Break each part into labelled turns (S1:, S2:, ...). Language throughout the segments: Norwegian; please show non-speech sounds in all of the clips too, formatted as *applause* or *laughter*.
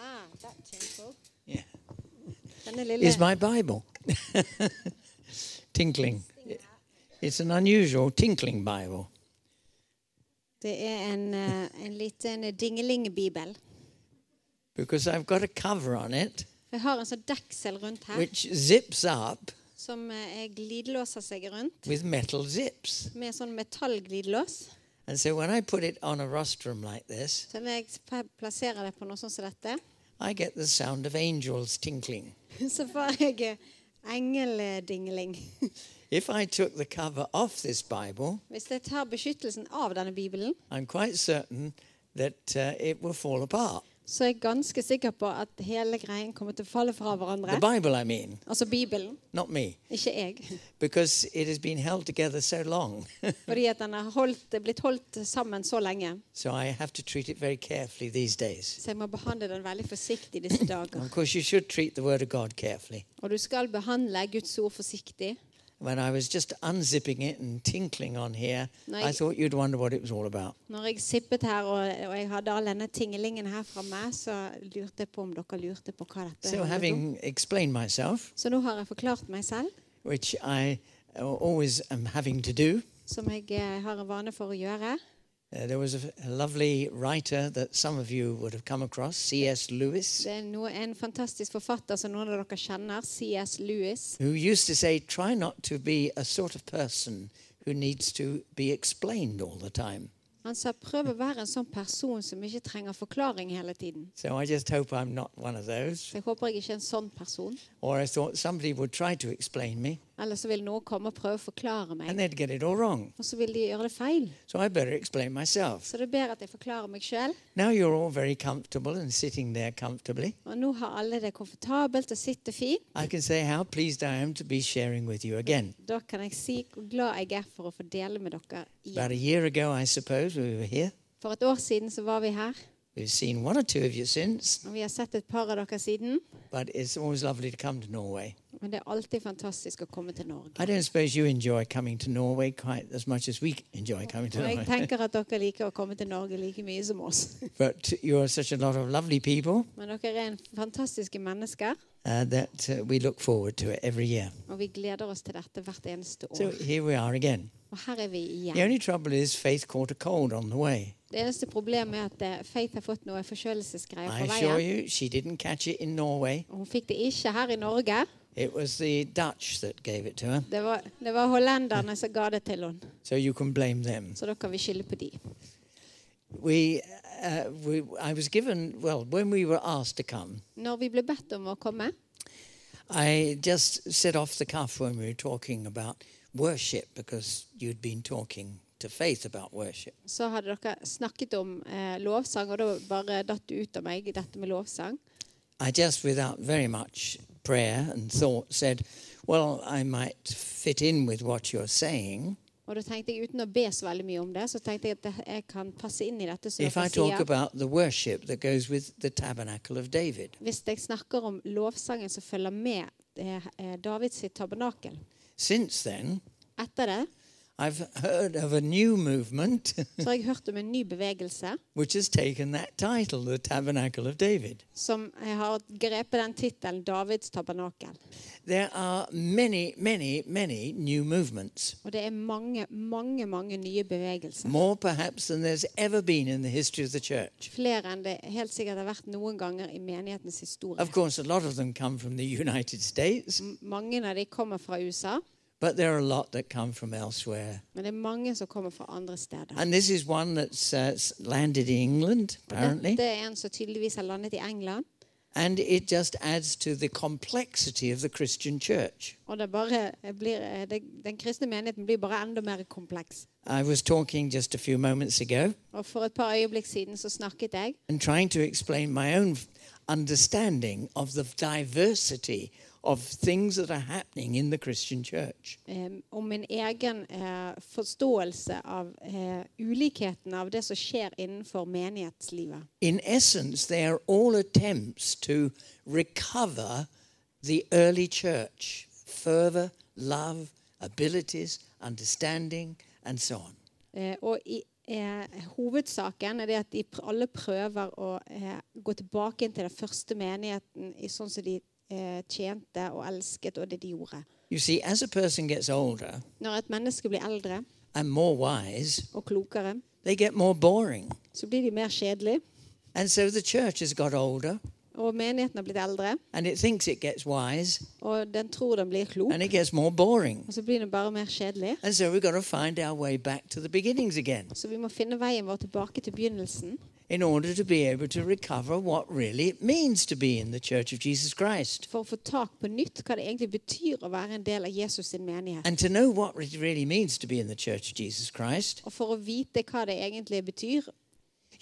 S1: Ah, that tinkle.
S2: Yeah.
S1: Denne lille
S2: Is my Bible. *laughs* tinkling. It's an unusual tinkling Bible.
S1: Det er en, eh, en liten dinglingbibel.
S2: because I've got a cover on it
S1: Jeg har en sånn deksel rundt her
S2: which zips up
S1: som eh, jeg glidelåser seg rundt
S2: with metal zips.
S1: med sånn metallglidelås.
S2: And so when I put it on a rostrum like this,
S1: Så når jeg pa- plasserer det på noe sånn som dette, *laughs*
S2: I get the sound of angels tinkling.
S1: så får jeg eh, engeldingling. *laughs*
S2: If I took the cover off this Bible,
S1: Hvis jeg tar beskyttelsen av denne bibelen,
S2: I'm quite certain that uh, it will fall apart.
S1: så er jeg ganske sikker på at hele greien kommer til å falle fra hverandre.
S2: The Bible, I mean,
S1: Altså Bibelen,
S2: not me,
S1: ikke jeg. *laughs*
S2: because it has been held together so long. *laughs*
S1: Fordi at den har holdt, blitt holdt sammen så lenge.
S2: so I have to treat it very carefully these days.
S1: Så jeg må behandle den veldig forsiktig disse dager.
S2: Of course, you should treat the Word of God carefully.
S1: Og du skal behandle Guds ord forsiktig.
S2: When I was just unzipping it and tinkling on here,
S1: No,
S2: I
S1: you-
S2: thought you'd wonder what it was all about.
S1: Når jeg sippet her, og, og jeg hadde all denne tingelingen her fra meg, så lurte jeg på om dere lurte på hva dette
S2: So,
S1: handlet om.
S2: having explained myself,
S1: Så nå har jeg forklart meg selv,
S2: which I uh, always am having to do,
S1: som jeg eh, har en vane for å gjøre.
S2: uh, there was a, a lovely writer that some of you would have come across, C.S. Lewis,
S1: Det er noe, en fantastisk forfatter som noen av dere kjenner, C.S. Lewis.
S2: who used to say, Try not to be a sort of person who needs to be explained all the time.
S1: Han sa prøv å være en sånn person som ikke trenger forklaring hele tiden.
S2: So, I just hope I'm not one of those.
S1: Så jeg håper jeg ikke er en sånn person.
S2: Or I thought somebody would try to explain me
S1: Ellers så vil noen komme og prøve å forklare meg,
S2: and they'd get it all wrong.
S1: og så vil de gjøre det feil.
S2: So, I better explain myself.
S1: Så det er bedre at jeg forklarer meg sjøl.
S2: Now you're all very comfortable and sitting there comfortably.
S1: Og nå har alle det komfortabelt og sitter fint.
S2: I can say how pleased I am to be sharing with you again.
S1: Da kan jeg si hvor glad jeg er for å få dele med dere. igjen.
S2: About a year ago, I suppose, we were here.
S1: For et år siden så var vi her,
S2: We've seen one or two of you since,
S1: og vi har sett et par av dere siden.
S2: but it's always lovely to come to Norway.
S1: Men det er alltid fantastisk å komme til Norge.
S2: I don't suppose you enjoy coming to Norway quite as much as we enjoy coming to
S1: Og jeg
S2: Norway.
S1: tenker at dere liker å komme til Norge like mye som oss. *laughs*
S2: But you are such a lot of lovely people
S1: Men dere er en fantastiske mennesker.
S2: uh, that uh, we look forward to it every year.
S1: Og vi gleder oss til dette hvert eneste
S2: So
S1: år.
S2: here we are again.
S1: Og her er vi
S2: The
S1: igjen.
S2: only trouble is Faith caught a cold on the way.
S1: Det eneste problemet er at eh, Faith har fått noe forkjølelsesgreier
S2: I
S1: på
S2: assure
S1: veien.
S2: you, she didn't catch it in Norway.
S1: Og Hun fikk det ikke her i Norge.
S2: It was the Dutch that gave it to her.
S1: Det var, det var hollenderne som ga det til henne.
S2: So you can blame them.
S1: Så da kan vi skylde på de.
S2: We, uh, we, I was given, well, when we were asked to come,
S1: Når vi ble bedt om å komme,
S2: I just said off the cuff when we were talking about worship because you'd been talking to Faith about worship.
S1: så hadde dere snakket om eh, lovsang, og da bare datt det ut av meg, dette med lovsang.
S2: I just, without very much prayer and thought, said, Well, I might fit in with what you're saying
S1: Og da tenkte jeg, uten å be så veldig mye om det, så tenkte jeg at det- jeg kan passe inn i dette som
S2: if I
S1: dere
S2: talk
S1: sier.
S2: about the worship that goes with the tabernacle of David.
S1: Hvis jeg snakker om lovsangen som følger med eh, eh, Davids sitt tabernakel.
S2: Since then,
S1: Etter det
S2: I've heard of a new movement *laughs*
S1: så har jeg hørt om en ny bevegelse
S2: which has taken that title, the Tabernacle of David.
S1: som jeg har grepet den tittelen 'Davids tabernakel'.
S2: There are many, many, many new movements,
S1: Og det er mange, mange mange nye bevegelser.
S2: more perhaps than there's ever been in the history of the church.
S1: Flere enn det helt sikkert har vært noen ganger i menighetens historie.
S2: Of course, a lot of them come from the *laughs* United States,
S1: M- Mange av de kommer fra USA,
S2: but there are a lot that come from elsewhere.
S1: men det er mange som kommer fra andre steder.
S2: And this is one that's uh, s- landed in England, apparently,
S1: Dette er en som tydeligvis har landet i England.
S2: and it just adds to the complexity of the Christian church.
S1: Og det bare blir, eh, det, den kristne menigheten blir bare enda mer kompleks.
S2: I was talking just a few moments ago
S1: Og For et par øyeblikk siden så snakket jeg
S2: and trying to explain my own f- understanding of the diversity of things that are happening in the Christian church.
S1: eh, om min egen eh, forståelse av eh, ulikheten av det som skjer innenfor menighetslivet.
S2: In essence, they are all attempts to recover the early church, fervor, love, abilities, understanding, and so on.
S1: Eh, og i, eh, hovedsaken er det at de pr- alle prøver å eh, gå tilbake inn til den første menigheten i sånn som de eh, tjente og elsket og det de gjorde.
S2: You see, as a person gets older
S1: Når et menneske blir eldre
S2: and more wise,
S1: og klokere,
S2: they get more boring.
S1: så blir de mer kjedelig.
S2: And so the church has got older
S1: Og menigheten har blitt eldre,
S2: and it thinks it gets wise
S1: og den tror den blir klok.
S2: and it gets more boring.
S1: Og så blir den bare mer kjedelig.
S2: And so we've got to find our way back to the beginnings again
S1: Så vi må finne veien vår tilbake til begynnelsen
S2: in order to be able to recover what really it means to be in the Church of Jesus Christ
S1: for å få tak på nytt hva det egentlig betyr å være en del av Jesus sin menighet.
S2: and to know what it really means to be in the Church of Jesus Christ.
S1: Og for å vite hva det egentlig betyr,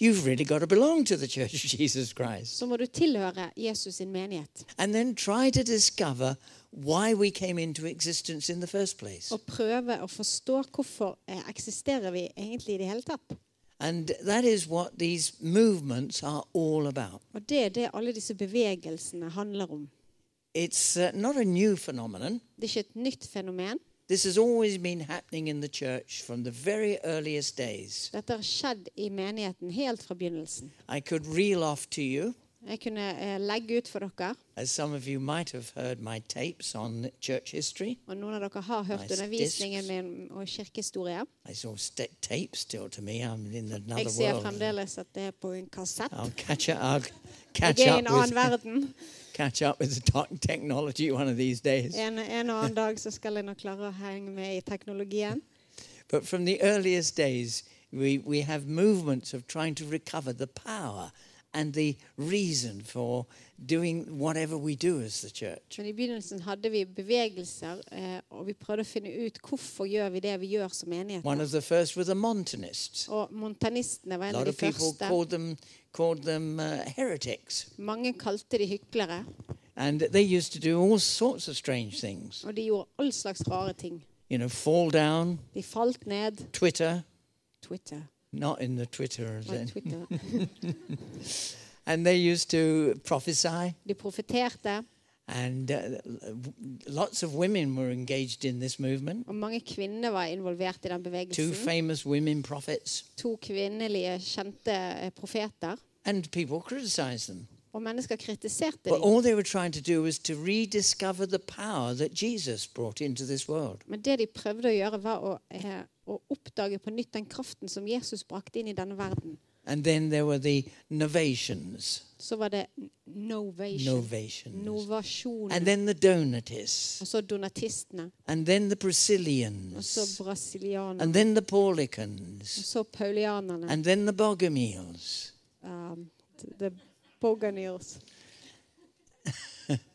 S2: You've really got to belong to the Church of *laughs* Jesus Christ
S1: så må du tilhøre Jesus sin menighet.
S2: and then try to discover why we came into existence in the first place.
S1: Og prøve å forstå hvorfor eh, eksisterer vi egentlig i det hele tatt.
S2: And that is what these movements are all about.
S1: Og det er det alle disse bevegelsene handler om.
S2: It's uh, not a new phenomenon.
S1: Det er ikke et nytt fenomen.
S2: This has always been happening in the church from the very earliest days.
S1: Dette har skjedd i menigheten helt fra begynnelsen.
S2: I could reel off to you,
S1: Jeg kunne eh, legge ut for dere,
S2: as some of you might have heard my tapes on church history.
S1: og noen av dere har hørt
S2: Nice
S1: undervisningen min og kirkehistorie.
S2: I saw st- tapes still to me. I'm in another
S1: Jeg ser
S2: world.
S1: fremdeles at det er på en kassett.
S2: I'll catch up.
S1: Jeg
S2: I'll catch
S1: er i
S2: up
S1: en annen
S2: with
S1: verden.
S2: catch up with the tech- technology one of these days.
S1: En, en og annen dag så skal jeg nok klare å henge med i teknologien.
S2: But from the earliest days, we, we have movements of trying to recover the power and the reason for doing whatever we do as the church.
S1: Men i begynnelsen hadde vi bevegelser, eh, og vi prøvde å finne ut hvorfor gjør vi det vi gjør som menighet.
S2: One of the first were the Montanists.
S1: Og montanistene var
S2: A
S1: en av
S2: lot
S1: de
S2: of people
S1: første.
S2: called them, called them uh, heretics.
S1: Mange kalte de hyklere,
S2: And they used to do all sorts of strange things.
S1: og de gjorde all slags rare ting.
S2: You know, fall down,
S1: De falt ned.
S2: Twitter,
S1: Twitter.
S2: not in the Twitter. as
S1: Nei,
S2: in-
S1: Twitter.
S2: And they used to prophesy.
S1: De profeterte,
S2: And uh, lots of women were engaged in this movement.
S1: og mange kvinner var involvert i den
S2: two
S1: bevegelsen.
S2: famous women prophets,
S1: To kvinnelige, kjente eh, profeter.
S2: and people criticized them.
S1: Og mennesker kritiserte
S2: But
S1: dem.
S2: all they were trying to do was to rediscover the power that Jesus brought into this world.
S1: Men det de prøvde å gjøre, var å, eh, å oppdage på nytt den kraften som Jesus brakte inn i denne verden.
S2: And then there were the novations,
S1: Så var det n- novation.
S2: novations, and
S1: Novasjonen.
S2: then the donatists,
S1: Og så donatistene.
S2: and then the
S1: Og så
S2: Priscillians,
S1: brasilianerne.
S2: and then the
S1: Og
S2: Paulicans,
S1: så paulianerne.
S2: and then the Bogomils,
S1: Um, the Boganeers.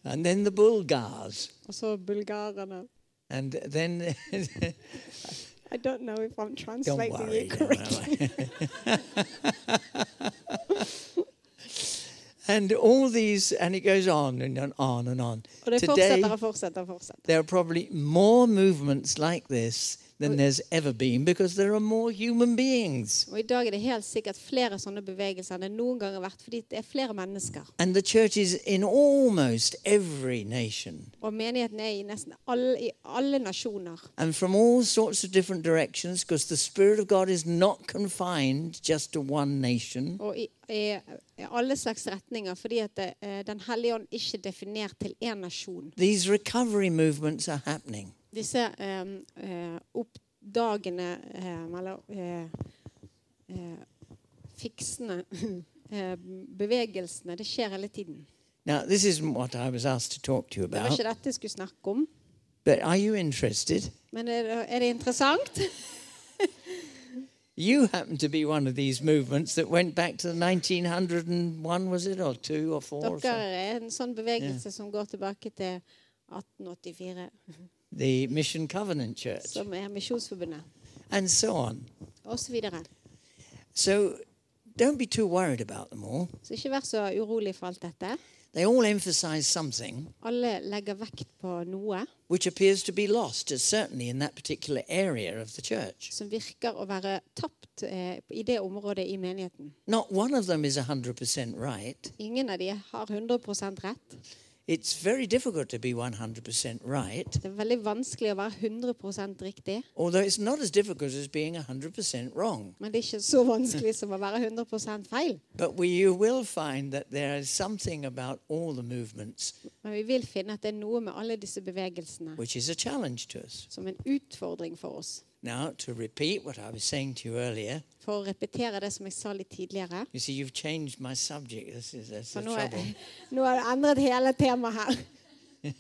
S2: and then the Bulgars,
S1: Og så bulgarerne.
S2: and then *laughs*
S1: I don't know if I'm
S2: Don't
S1: translating
S2: worry.
S1: it
S2: don't
S1: correctly.
S2: worry. *laughs* and all these, and it goes on and on- on and on.
S1: *laughs* Og det
S2: Today,
S1: fortsetter og fortsetter og fortsetter.
S2: there are probably more movements like this than there's ever been because there are more human beings.
S1: Og i dag er det helt sikkert flere sånne bevegelser enn det noen gang har vært, fordi det er flere mennesker.
S2: And the church is in almost every nation
S1: Og menigheten er i nesten alle, i alle nasjoner.
S2: and from all sorts of different directions because the Spirit of God is not confined just to one nation.
S1: Og i, i, i alle slags retninger, fordi at eh, Den hellige ånd ikke er definert til én nasjon.
S2: These recovery movements are happening.
S1: Disse eh, eh, oppdagende eh, Eller eh, eh, fiksende *laughs* eh, bevegelsene, det skjer hele tiden.
S2: Now, this isn't what I was asked to talk to you
S1: Det var
S2: about,
S1: ikke dette jeg skulle snakke om,
S2: but are you interested?
S1: men er det, er det interessant?
S2: You happen to be one of these movements that went back to the 1901, was it, or two or four? Or
S1: Dere
S2: so?
S1: er en sånn bevegelse som går tilbake til 1884,
S2: The Mission Covenant Church,
S1: som er Misjonsforbundet,
S2: and so on.
S1: osv.
S2: So don't be too worried about them all.
S1: Så ikke vær så urolig for alt dette.
S2: They all emphasize something
S1: Alle legger vekt på noe
S2: which appears to be lost, uh, certainly in that particular area of the church.
S1: som virker å være tapt eh, i det området i menigheten.
S2: Not one of them is 100% right.
S1: Ingen av de har 100 rett.
S2: It's very difficult to be 100% right,
S1: Det er veldig vanskelig å være 100 riktig.
S2: although it's not as difficult as being 100% wrong.
S1: Men det er ikke så vanskelig som å være 100 feil.
S2: But we, you will find that there is something about all the movements
S1: Men vi vil finne at det er noe med alle disse bevegelsene
S2: which is a challenge to us.
S1: som en utfordring for oss.
S2: Now, to repeat what I was saying to you earlier,
S1: For å repetere det som jeg sa litt tidligere
S2: you see, you've changed my subject. This is that's
S1: For
S2: the
S1: nå er,
S2: trouble.
S1: *laughs* nå er det endret hele temaet her.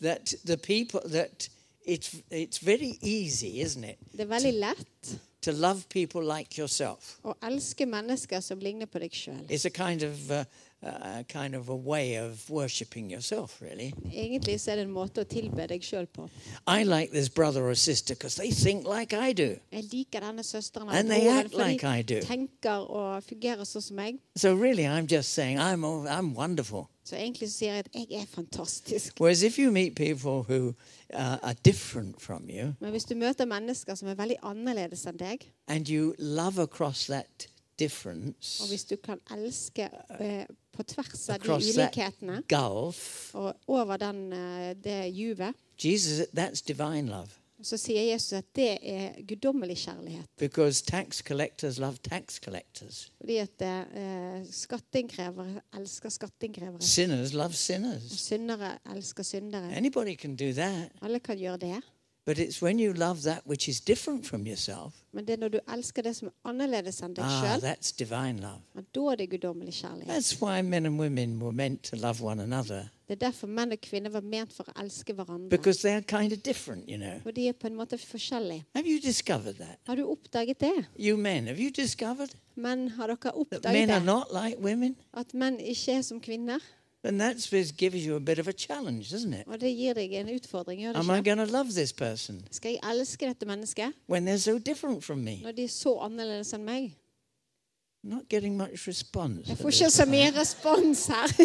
S2: That the people that it's it's very easy, isn't it,
S1: Det er veldig lett
S2: to love people like yourself.
S1: å elske mennesker som ligner på deg sjøl.
S2: It's a kind of uh, uh, kind of a way of worshiping yourself, really.
S1: Egentlig så er det en måte å tilbe deg sjøl på.
S2: I like this brother or sister because they think like I do.
S1: Jeg liker denne søsteren
S2: And they
S1: broren,
S2: act
S1: for de
S2: like I do.
S1: tenker og fungerer sånn som meg.
S2: So really, I'm just saying I'm all, I'm wonderful.
S1: Så egentlig så sier jeg at jeg er fantastisk.
S2: Whereas if you meet people who uh, are different from you
S1: Men hvis du møter mennesker som er veldig annerledes enn deg,
S2: and you love across that
S1: og
S2: difference,
S1: hvis du kan elske eh, på tvers av de
S2: across
S1: ulikhetene
S2: that gulf,
S1: og over den, eh, det juvet,
S2: Jesus, that's divine love.
S1: så sier Jesus at det er guddommelig kjærlighet.
S2: Because tax collectors love tax collectors.
S1: Fordi at eh, skatteinnkrevere elsker skatteinnkrevere.
S2: Sinners love
S1: Og
S2: sinners.
S1: syndere elsker syndere.
S2: Anybody can do that.
S1: Alle kan gjøre det.
S2: But it's when you love that which is different from yourself.
S1: Men det er når du elsker det som er annerledes enn deg
S2: Ah,
S1: sjøl,
S2: that's divine love.
S1: da er det guddommelig kjærlighet.
S2: That's why men and women were meant to love one another.
S1: Det er derfor menn og kvinner var ment for å elske hverandre.
S2: Because they are kind of different, you know.
S1: Og de er på en måte forskjellige.
S2: Have you discovered that?
S1: Har du oppdaget det?
S2: You men, have you discovered
S1: Men har dere
S2: that
S1: oppdaget
S2: men are
S1: det?
S2: not like women?
S1: At menn ikke er som kvinner?
S2: And that's what gives you a bit of a challenge, doesn't it?
S1: Og det gir deg en utfordring, gjør
S2: Am I
S1: det ikke?
S2: going to love this person
S1: Skal jeg elske dette mennesket
S2: when they're so different from me?
S1: når de er så annerledes enn meg?
S2: Not getting much response.
S1: Jeg
S2: for
S1: får
S2: this.
S1: ikke så mye respons her. *laughs*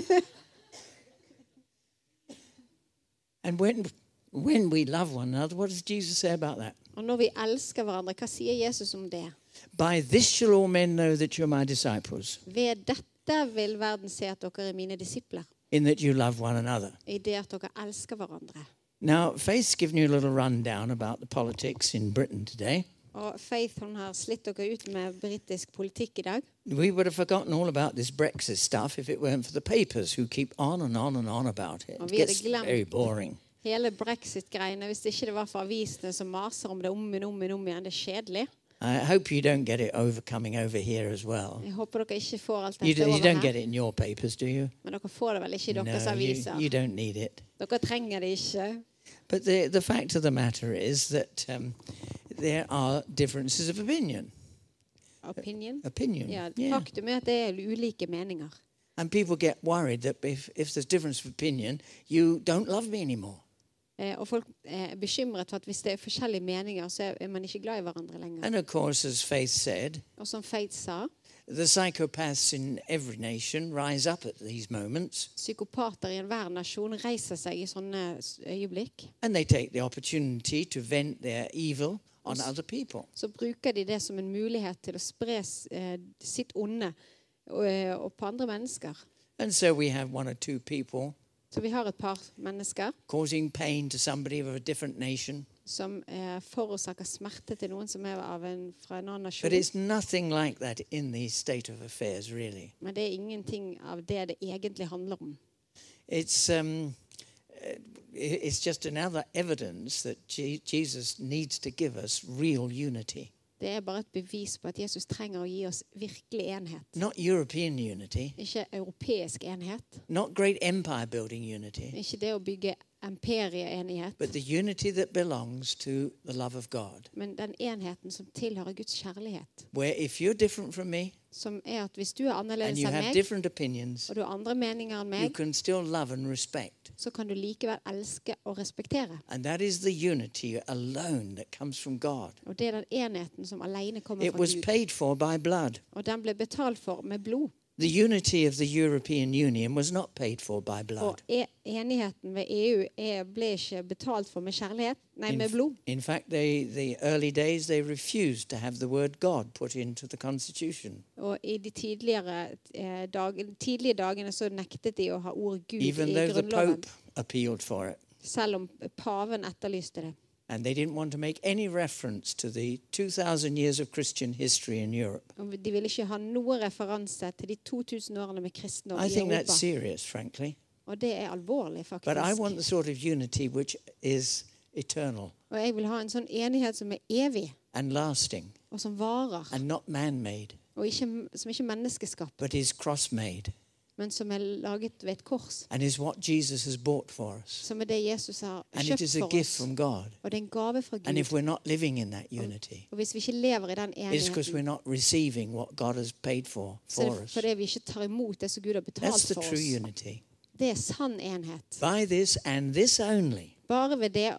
S2: And when when we love one another, what does Jesus say about that?
S1: Og når vi elsker hverandre, hva sier Jesus om det?
S2: By this shall all men know that you're my disciples,
S1: Ved dette vil verden se at dere er mine disipler,
S2: in that you love one another.
S1: i det at dere elsker hverandre.
S2: Now, Faith's given you a little rundown about the politics in Britain today.
S1: Og Faith hun har slitt dere ut med britisk politikk i dag.
S2: We would have forgotten all about this Brexit stuff if it weren't for the papers who keep on and on and on about it.
S1: Oh,
S2: It
S1: we had a
S2: gets
S1: glam.
S2: very boring.
S1: Hele brexit-greiene, hvis det ikke det var for avisene som maser om det om og om igjen, om igjen, det er kjedelig.
S2: I hope you don't get it over coming over here as well.
S1: Jeg håper dere ikke får alt
S2: You,
S1: dette
S2: do, you don't
S1: over
S2: get
S1: her.
S2: it in your papers, do you?
S1: Men dere får det vel ikke i deres
S2: no, you,
S1: aviser.
S2: you don't need it.
S1: Dere trenger det ikke.
S2: But the, the fact of the matter is that um, there are differences of opinion.
S1: Opinion.
S2: Opinion.
S1: Ja,
S2: yeah.
S1: faktum er at det er ulike meninger.
S2: And people get worried that if, if there's difference of opinion, you don't love me anymore.
S1: Eh, og folk eh, er bekymret for at hvis det er forskjellige meninger, så er- er man ikke glad i hverandre lenger.
S2: And of course, as Faith said,
S1: Og som Faith sa,
S2: the psychopaths in every nation rise up at these moments
S1: psykopater i enhver nasjon reiser seg i sånne s- øyeblikk.
S2: and they take the opportunity to vent their evil on other people.
S1: Så bruker de det som en mulighet til å spre s- eh, sitt onde og, eh, og på andre mennesker.
S2: And so we have one or two people
S1: Så vi har et par mennesker
S2: causing pain to somebody of a different nation.
S1: som eh, forårsaker smerte til noen som er av en, fra en annen
S2: But
S1: nasjon.
S2: it's nothing like that in the state of affairs, really.
S1: Men det er ingenting av det det egentlig handler om.
S2: It's, um, uh, it's just another evidence that Je- Jesus needs to give us real unity.
S1: Det er bare et bevis på at Jesus trenger å gi oss virkelig enhet.
S2: Not European unity,
S1: Ikke europeisk enhet.
S2: not great empire building unity,
S1: Ikke det å bygge emperieenighet,
S2: but the unity that belongs to the love of God.
S1: men den enheten som tilhører Guds kjærlighet.
S2: Where if you're different from me
S1: Som er at hvis du er
S2: and
S1: annerledes
S2: you
S1: enn
S2: have
S1: meg,
S2: different opinions,
S1: og du har andre meninger enn
S2: you
S1: meg,
S2: can still love and respect.
S1: så kan du likevel elske og respektere.
S2: And that is the unity alone that comes from God.
S1: Og det er den enheten som alene kommer
S2: It
S1: fra
S2: was
S1: Gud.
S2: paid for by blood.
S1: Og den ble betalt for med blod.
S2: The unity of the European Union was not paid for by
S1: Og
S2: blood.
S1: e enigheten ved EU er, ble ikke betalt for med kjærlighet, nei,
S2: In,
S1: med blod.
S2: in fact, they, the early days, they refused to have the word God put into the Constitution.
S1: Og i de tidligere, eh, dag, tidlige dagene så nektet de å ha ordet Gud
S2: even
S1: i
S2: though the
S1: Grunnloven.
S2: Pope appealed for it.
S1: Selv om paven etterlyste det.
S2: And they didn't want to make any reference to the 2,000 years of Christian history in Europe.
S1: Og De ville ikke ha noe referanse til de 2000 årene med kristendom
S2: I
S1: i
S2: think that's
S1: Oh, Europa.
S2: serious, frankly.
S1: Og det er alvorlig,
S2: But I
S1: faktisk.
S2: want the sort of unity which is eternal
S1: Og jeg vil ha en sånn enighet som er evig,
S2: and lasting
S1: og som varer.
S2: and not man made,
S1: Og ikke, som ikke er menneskeskapt,
S2: but is cross made
S1: men som er laget ved et kors.
S2: and is what Jesus has bought for us.
S1: Som er det Jesus har
S2: And it
S1: kjøpt
S2: is a
S1: for
S2: gift
S1: oss.
S2: from God.
S1: Og det er en gave fra
S2: And if
S1: Gud.
S2: we're not living in that unity,
S1: Og hvis vi ikke lever i den
S2: it's because we're
S1: enigheten,
S2: not receiving what God has paid for
S1: så
S2: for
S1: er det
S2: us.
S1: fordi vi ikke tar imot det som Gud har
S2: That's
S1: betalt
S2: the
S1: for
S2: true
S1: oss.
S2: unity.
S1: Det er sann enhet.
S2: By this and this only
S1: Bare ved det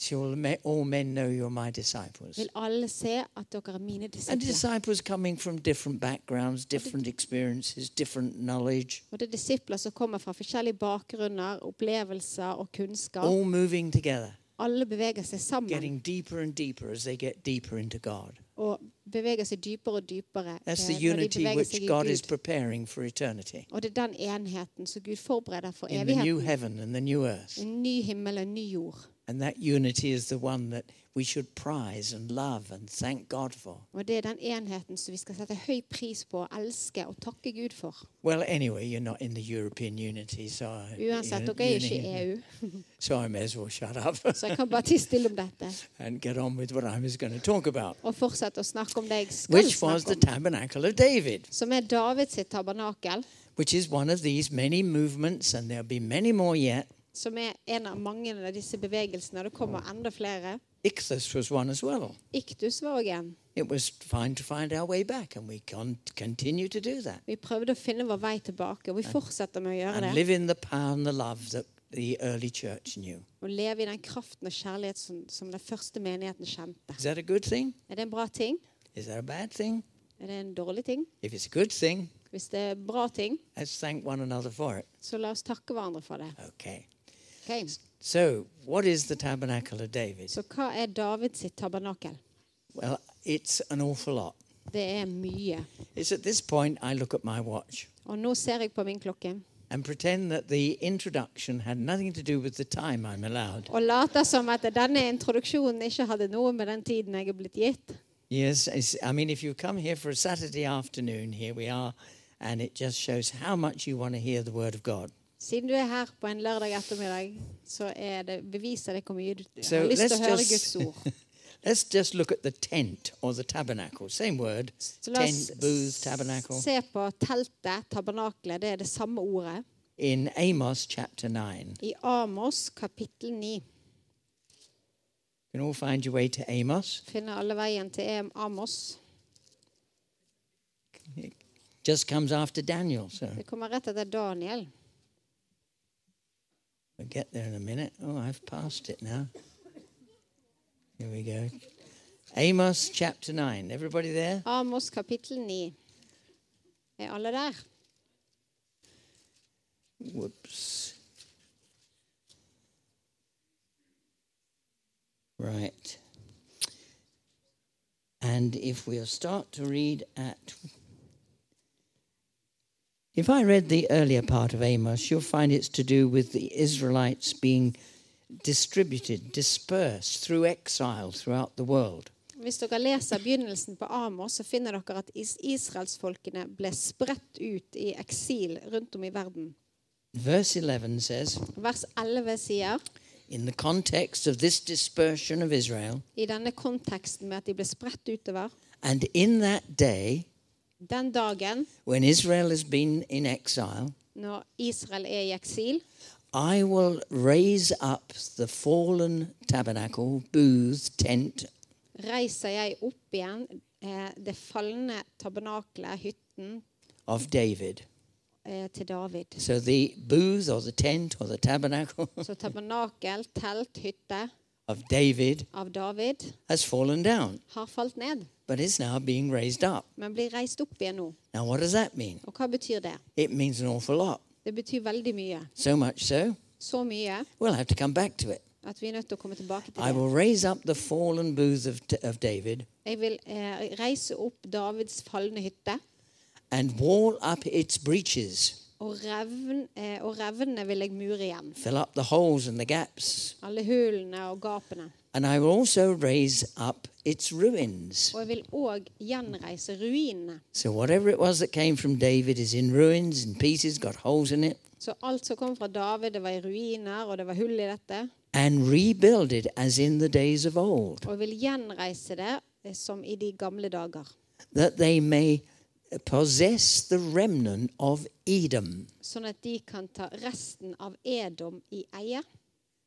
S2: shall me- all men know you're my disciples.
S1: vil alle se at dere er mine
S2: And
S1: disipler.
S2: disciples coming from different backgrounds, different experiences, different knowledge,
S1: Og det er disipler som kommer fra forskjellige bakgrunner, opplevelser og kunnskap.
S2: all moving together,
S1: Alle beveger seg sammen
S2: Oh. getting deeper and deeper as they get deeper into God.
S1: og beveger seg dypere og dypere eh,
S2: That's the
S1: når de
S2: unity
S1: beveger
S2: which
S1: seg i
S2: God is
S1: Gud.
S2: preparing for eternity
S1: Og det er den enheten som Gud forbereder for
S2: in the new
S1: evigheten.
S2: heaven and the new earth.
S1: En ny himmel og en ny jord.
S2: And that unity is the one that we should prize and love and thank God for.
S1: Og det er den enheten som vi skal sette høy pris på, elske og takke Gud for.
S2: Well, anyway, you're not in the European unity, so I,
S1: Uansett, dere er jo ikke i EU,
S2: so I may as well shut up *laughs*
S1: så jeg kan bare tie stille om dette
S2: and get on with what I was going to talk about.
S1: og fortsette å snakke om det jeg skal
S2: which was the
S1: snakke om.
S2: tabernacle of David,
S1: Som er Davids sitt tabernakel,
S2: which is one of these many movements, and there'll be many more yet.
S1: som er en av mange av disse bevegelsene. Det kommer enda flere.
S2: Ichthus was one as well.
S1: Iktus var òg en.
S2: It was fine to find our way back, and we con- continue to do that
S1: Vi prøvde å finne vår vei tilbake, og vi fortsetter med å gjøre
S2: and
S1: det.
S2: live in the power and the love that the early church knew.
S1: Og leve i den kraften og kjærlighet som, som den første menigheten kjente.
S2: Is that a good thing?
S1: Er det en bra ting?
S2: Is that a bad thing?
S1: Er det en dårlig ting?
S2: If it's a good thing,
S1: Hvis det er bra ting,
S2: let's thank one another for it.
S1: så la oss takke hverandre for det.
S2: Okay.
S1: Ok.
S2: So, what is the tabernacle of David?
S1: Så hva er Davids sitt tabernakel?
S2: Well, it's an awful lot.
S1: Det er mye.
S2: It's at this point I look at my watch.
S1: Og nå ser jeg på min klokke
S2: and pretend that the introduction had nothing to do with the time I'm allowed.
S1: og later som at denne introduksjonen ikke hadde noe med den tiden jeg er blitt gitt.
S2: Yes, it's, I mean, if you come here for a Saturday afternoon, here we are, and it just shows how much you want to hear the Word of God.
S1: Siden du er her på en lørdag ettermiddag, så er det, beviser det hvor mye du
S2: So
S1: har lyst til
S2: let's
S1: å høre
S2: just-
S1: Guds
S2: *laughs*
S1: ord.
S2: Let's just look at the tent or the tabernacle. Same word.
S1: Så la oss
S2: Tent, booth, tabernacle.
S1: se på teltet, tabernaklet. Det er det samme ordet.
S2: In Amos chapter 9.
S1: I Amos kapittel 9
S2: You can all find your way to Amos.
S1: finner alle veien til em- Amos.
S2: It just comes after Daniel, so
S1: Det kommer rett etter Daniel.
S2: we'll get there in a minute. Oh, I've passed it now. Here we go. Amos chapter 9. Everybody there?
S1: Amos kapittel 9. Er alle der?
S2: Whoops. Right. And if we'll start to read at. If I read the earlier part of Amos, you'll find it's to do with the Israelites being distributed, dispersed through exile throughout the world.
S1: Hvis dere leser begynnelsen på Amos, så finner dere at is israelsfolkene ble spredt ut i eksil rundt om i verden.
S2: Verse 11 says,
S1: Vers 11 sier
S2: in the context of this dispersion of Israel,
S1: i denne konteksten med at de ble spredt utover
S2: and in that day,
S1: Den dagen
S2: when Israel has been in exile,
S1: når Israel er i eksil,
S2: I will raise up the fallen tabernacle, booth, tent,
S1: reiser jeg opp igjen eh, det falne tabernaklet, hytten,
S2: of David.
S1: eh, til David.
S2: So the booth or the tent or the tabernacle *laughs*
S1: Så tabernakel, telt, hytte
S2: of David
S1: av David
S2: has fallen down.
S1: har falt ned.
S2: but is now being raised up.
S1: men blir reist opp igjen nå.
S2: Now, what does that mean?
S1: Og hva betyr det?
S2: It means an awful lot.
S1: Det betyr veldig mye.
S2: So much so,
S1: Så mye
S2: we'll have to come back to it.
S1: at vi er nødt til å komme tilbake til
S2: I
S1: det.
S2: will raise up the fallen booth of, of David
S1: Jeg vil eh, reise opp Davids falne hytte,
S2: and wall up its breaches,
S1: og, revn, eh, og revnene vil jeg mure igjen.
S2: fill up the holes and the gaps,
S1: Alle hulene og gapene.
S2: and I will also raise up its ruins.
S1: Og jeg vil òg gjenreise ruinene.
S2: So, whatever it was that came from David is in ruins and pieces, got holes in it,
S1: Så alt som kom fra David, det var i ruiner, og det var hull i dette.
S2: and rebuild it as in the days of old,
S1: Og jeg vil gjenreise det eh, som i de gamle dager.
S2: that they may possess the remnant of Edom.
S1: Sånn at de kan ta resten av Edom i eie.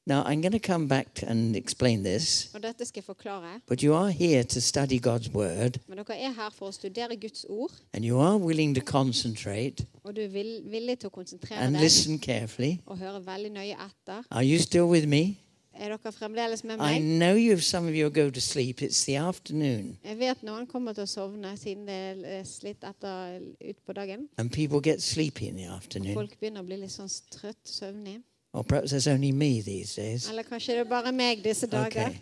S2: Now, I'm going to come back to- and explain this,
S1: Og dette skal jeg forklare.
S2: but you are here to study God's word,
S1: Men dere er her for å studere Guds ord,
S2: and you are willing to concentrate
S1: og du er vil, villig til å konsentrere
S2: and
S1: deg
S2: listen carefully.
S1: og høre veldig nøye etter.
S2: Are you still with me?
S1: Er dere fremdeles med
S2: I
S1: meg?
S2: know you. Some of you go to sleep. It's the afternoon,
S1: Jeg vet noen kommer til å sovne siden det er litt etter utpå dagen.
S2: and people get sleepy in the afternoon.
S1: Folk begynner å bli litt sånn trøtt, søvnig.
S2: Or perhaps it's only me these days.
S1: Eller kanskje det er bare meg disse dager.
S2: Okay.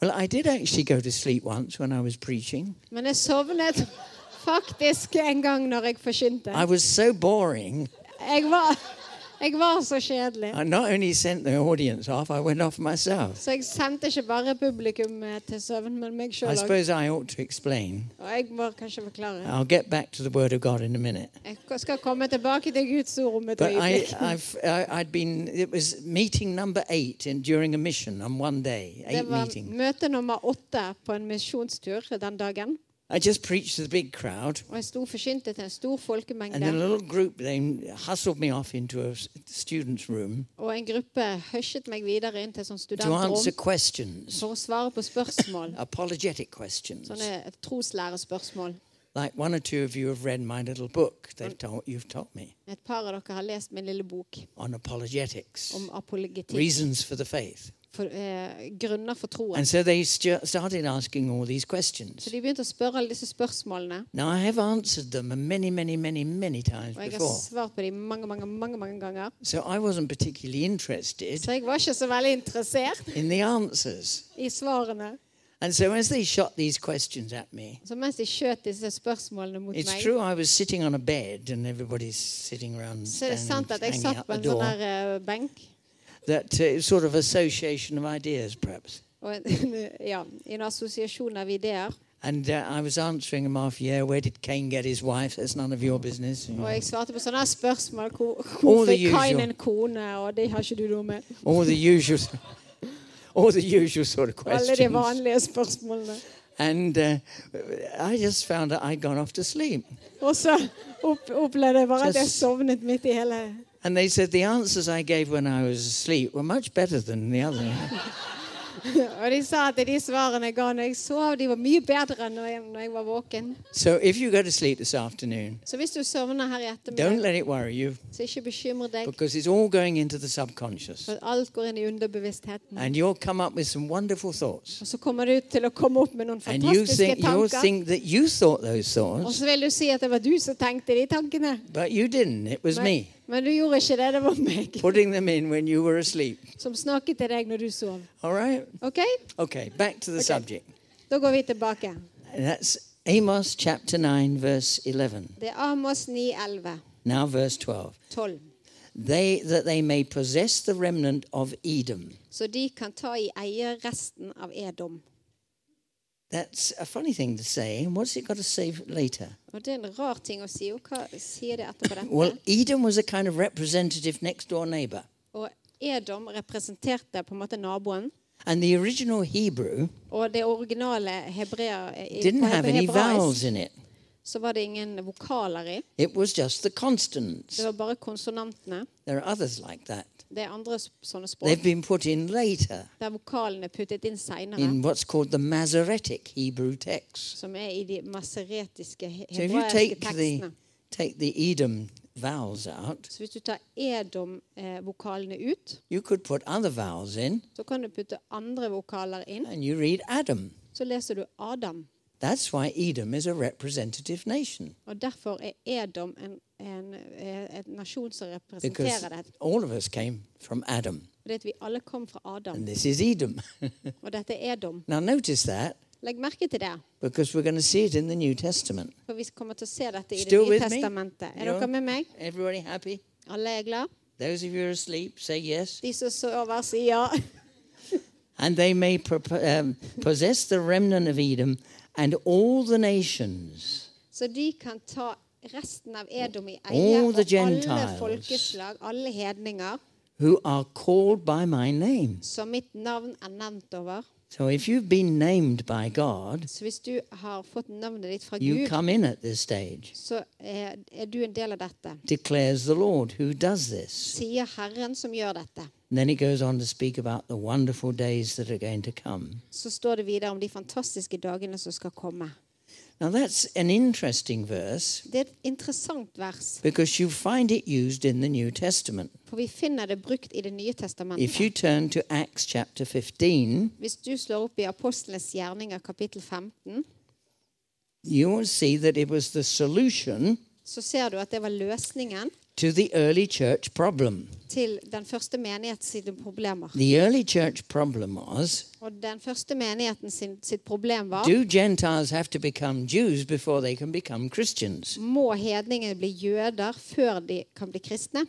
S2: Well, I did actually go to sleep once when I was preaching.
S1: Men jeg sovnet faktisk en gang når jeg forkynte.
S2: I was so boring.
S1: Jeg var, jeg var så kjedelig.
S2: I not only sent the audience off, I went off myself.
S1: Så jeg sendte ikke bare publikum eh, til søvn, men meg
S2: I
S1: sjøl òg.
S2: suppose I ought to explain.
S1: Og jeg må kanskje forklare.
S2: I'll get back to the Word of God in a minute.
S1: Jeg skal komme tilbake til Guds ord om et
S2: But I,
S1: øyeblikk.
S2: I've, I, I'd been, it was meeting number eight in, during a mission on one day,
S1: Det
S2: eight
S1: var
S2: meeting.
S1: møte nummer åtte på en misjonstur den dagen.
S2: I just preached to the big crowd,
S1: Og jeg sto og forkynte til en stor
S2: and then a
S1: folkemengde.
S2: little group then hustled me off into a s- student's room
S1: Og en gruppe husjet meg videre inn til sånn
S2: to answer
S1: studentrom
S2: questions,
S1: for å svare på spørsmål.
S2: apologetic questions.
S1: Sånne troslærespørsmål.
S2: Like one or two of you have read my little book. They've told, you've taught me
S1: Et par av dere har lest min lille bok
S2: on apologetics,
S1: om apologetikk.
S2: reasons for the faith.
S1: For, eh, grunner for troen.
S2: And so they stu- started asking all these questions.
S1: Så de begynte å spørre alle disse spørsmålene.
S2: Now I have answered them many, many, many, many times
S1: Og jeg har
S2: before.
S1: svart på dem mange, mange, mange mange ganger.
S2: So I wasn't particularly interested
S1: *laughs* Så jeg var ikke så veldig interessert
S2: in the answers.
S1: i svarene.
S2: And so as they shot these questions at me,
S1: Så mens de skjøt disse spørsmålene mot
S2: it's
S1: meg,
S2: true I was sitting on a bed and everybody's sitting around
S1: så er det sant
S2: standing,
S1: at jeg
S2: hanging
S1: satt
S2: out
S1: på
S2: the
S1: en sånn
S2: door.
S1: her eh, benk.
S2: That uh, sort of association of ideas, perhaps.
S1: Og *laughs* en, ja, I en assosiasjon av ideer.
S2: And uh, I was answering them off, yeah, where did Cain get his wife? That's none of your business. you know.
S1: Og jeg svarte på sånne her spørsmål. Hvor,
S2: All
S1: hvor
S2: the
S1: fikk Kain
S2: usual.
S1: en kone? Og det har ikke du noe med.
S2: All the usual, *laughs* all the usual sort of
S1: Alle de
S2: questions.
S1: vanlige spørsmålene.
S2: And uh, I just found that I'd gone off to sleep.
S1: Og så opp, opplevde jeg bare at jeg
S2: Just-
S1: sovnet midt i hele
S2: And they said the answers I gave when I was asleep were much better than the other.
S1: Og de sa at de svarene jeg ga når jeg sov, de var mye bedre enn når jeg, når jeg var våken.
S2: so if you go to sleep this afternoon,
S1: Så hvis du sovner her i
S2: don't
S1: ettermiddag,
S2: let it worry you
S1: så ikke bekymre deg.
S2: because it's all going into the subconscious.
S1: For alt går inn i underbevisstheten.
S2: And you'll come up with some wonderful thoughts.
S1: Og så kommer du til å komme opp med noen
S2: And you
S1: fantastiske
S2: think, you'll
S1: tanker.
S2: think that you thought those
S1: Og
S2: thoughts,
S1: så vil du si at det var du som tenkte de tankene.
S2: but you didn't. It was
S1: Men,
S2: *laughs* me
S1: men du gjorde ikke det. Det var meg
S2: putting them in when you were asleep.
S1: som snakket til deg når du sov.
S2: All right?
S1: OK?
S2: Okay, back to the subject.
S1: Da går vi tilbake.
S2: And that's Amos chapter 9, verse 11.
S1: Det er Amos 9, 11,
S2: Now, verse 12.
S1: 12.
S2: They, that they may possess the remnant of Edom.
S1: Så de kan ta i eie resten av Edom.
S2: That's a funny thing to say. And what's it got to say later?
S1: Og det er en rar ting å si. Og hva sier det etterpå dette?
S2: Well, Edom was a kind of representative next door neighbor.
S1: Og Edom representerte på en måte naboen.
S2: And the original Hebrew
S1: Og det originale hebrea, i-
S2: didn't
S1: på
S2: have any
S1: hebraisk
S2: vowels in it,
S1: så var det ingen vokaler i.
S2: it was just the consonants.
S1: Det var bare konsonantene.
S2: There are others like that.
S1: Det er andre s- sånne
S2: They've
S1: språk
S2: been put in later
S1: der vokalene er puttet inn seinere,
S2: in what's called the Masoretic Hebrew text.
S1: som er i de maseretiske he-
S2: So if you
S1: hebraiske
S2: take the,
S1: tekstene.
S2: take the Edom vowels out,
S1: Så hvis du tar edom-vokalene ut,
S2: you could put other vowels in
S1: så kan du putte andre vokaler inn.
S2: and you read Adam.
S1: Så leser du Adam.
S2: That's why Edom is a representative nation,
S1: Og derfor er Edom en, en, eh, en nasjon som
S2: because
S1: representerer det.
S2: all of us came from Adam,
S1: Fordi at vi alle kom fra Adam,
S2: and this is Edom. *laughs*
S1: og dette er Edom.
S2: now, notice that
S1: Legg merke til det,
S2: because we're going to see it in the New Testament.
S1: for vi kommer til å se dette i Det
S2: Still
S1: nye
S2: with me?
S1: testamentet. Er
S2: Ja.
S1: dere med meg?
S2: Everybody happy?
S1: Alle er glad?
S2: Those of you who are asleep, say yes.
S1: De som sover, sier ja. *laughs*
S2: And they may pro- um, possess the remnant of Edom and all the nations.
S1: Så de kan ta resten av Edom i eie,
S2: All
S1: og
S2: the
S1: alle
S2: Gentiles.
S1: folkeslag, alle hedninger,
S2: who are called by my name.
S1: som mitt navn er nevnt over.
S2: So if you've been named by God,
S1: Så hvis du har fått navnet ditt fra
S2: you
S1: Gud,
S2: come in at this stage,
S1: så er, er du en del av dette.
S2: declares the Lord who does this.
S1: Sier Herren som gjør dette.
S2: And then he goes on to speak about the wonderful days that are going to come.
S1: Så står det videre om de fantastiske dagene som skal komme.
S2: Now that's an interesting verse
S1: Det er et interessant vers,
S2: because you find it used in the New Testament.
S1: for vi finner det brukt i Det nye
S2: If
S1: testamentet.
S2: you turn to Acts chapter 15,
S1: Hvis du slår opp i Apostlenes gjerninger kapittel 15,
S2: you will see that it was the solution
S1: så ser du at det var løsningen
S2: to the early church problem.
S1: til den første menighet sine problemer.
S2: The early church problem was
S1: Og den første menigheten sin, sitt problem var
S2: Do Gentiles have to become Jews before they can become Christians?
S1: må hedningene bli jøder før de kan bli kristne?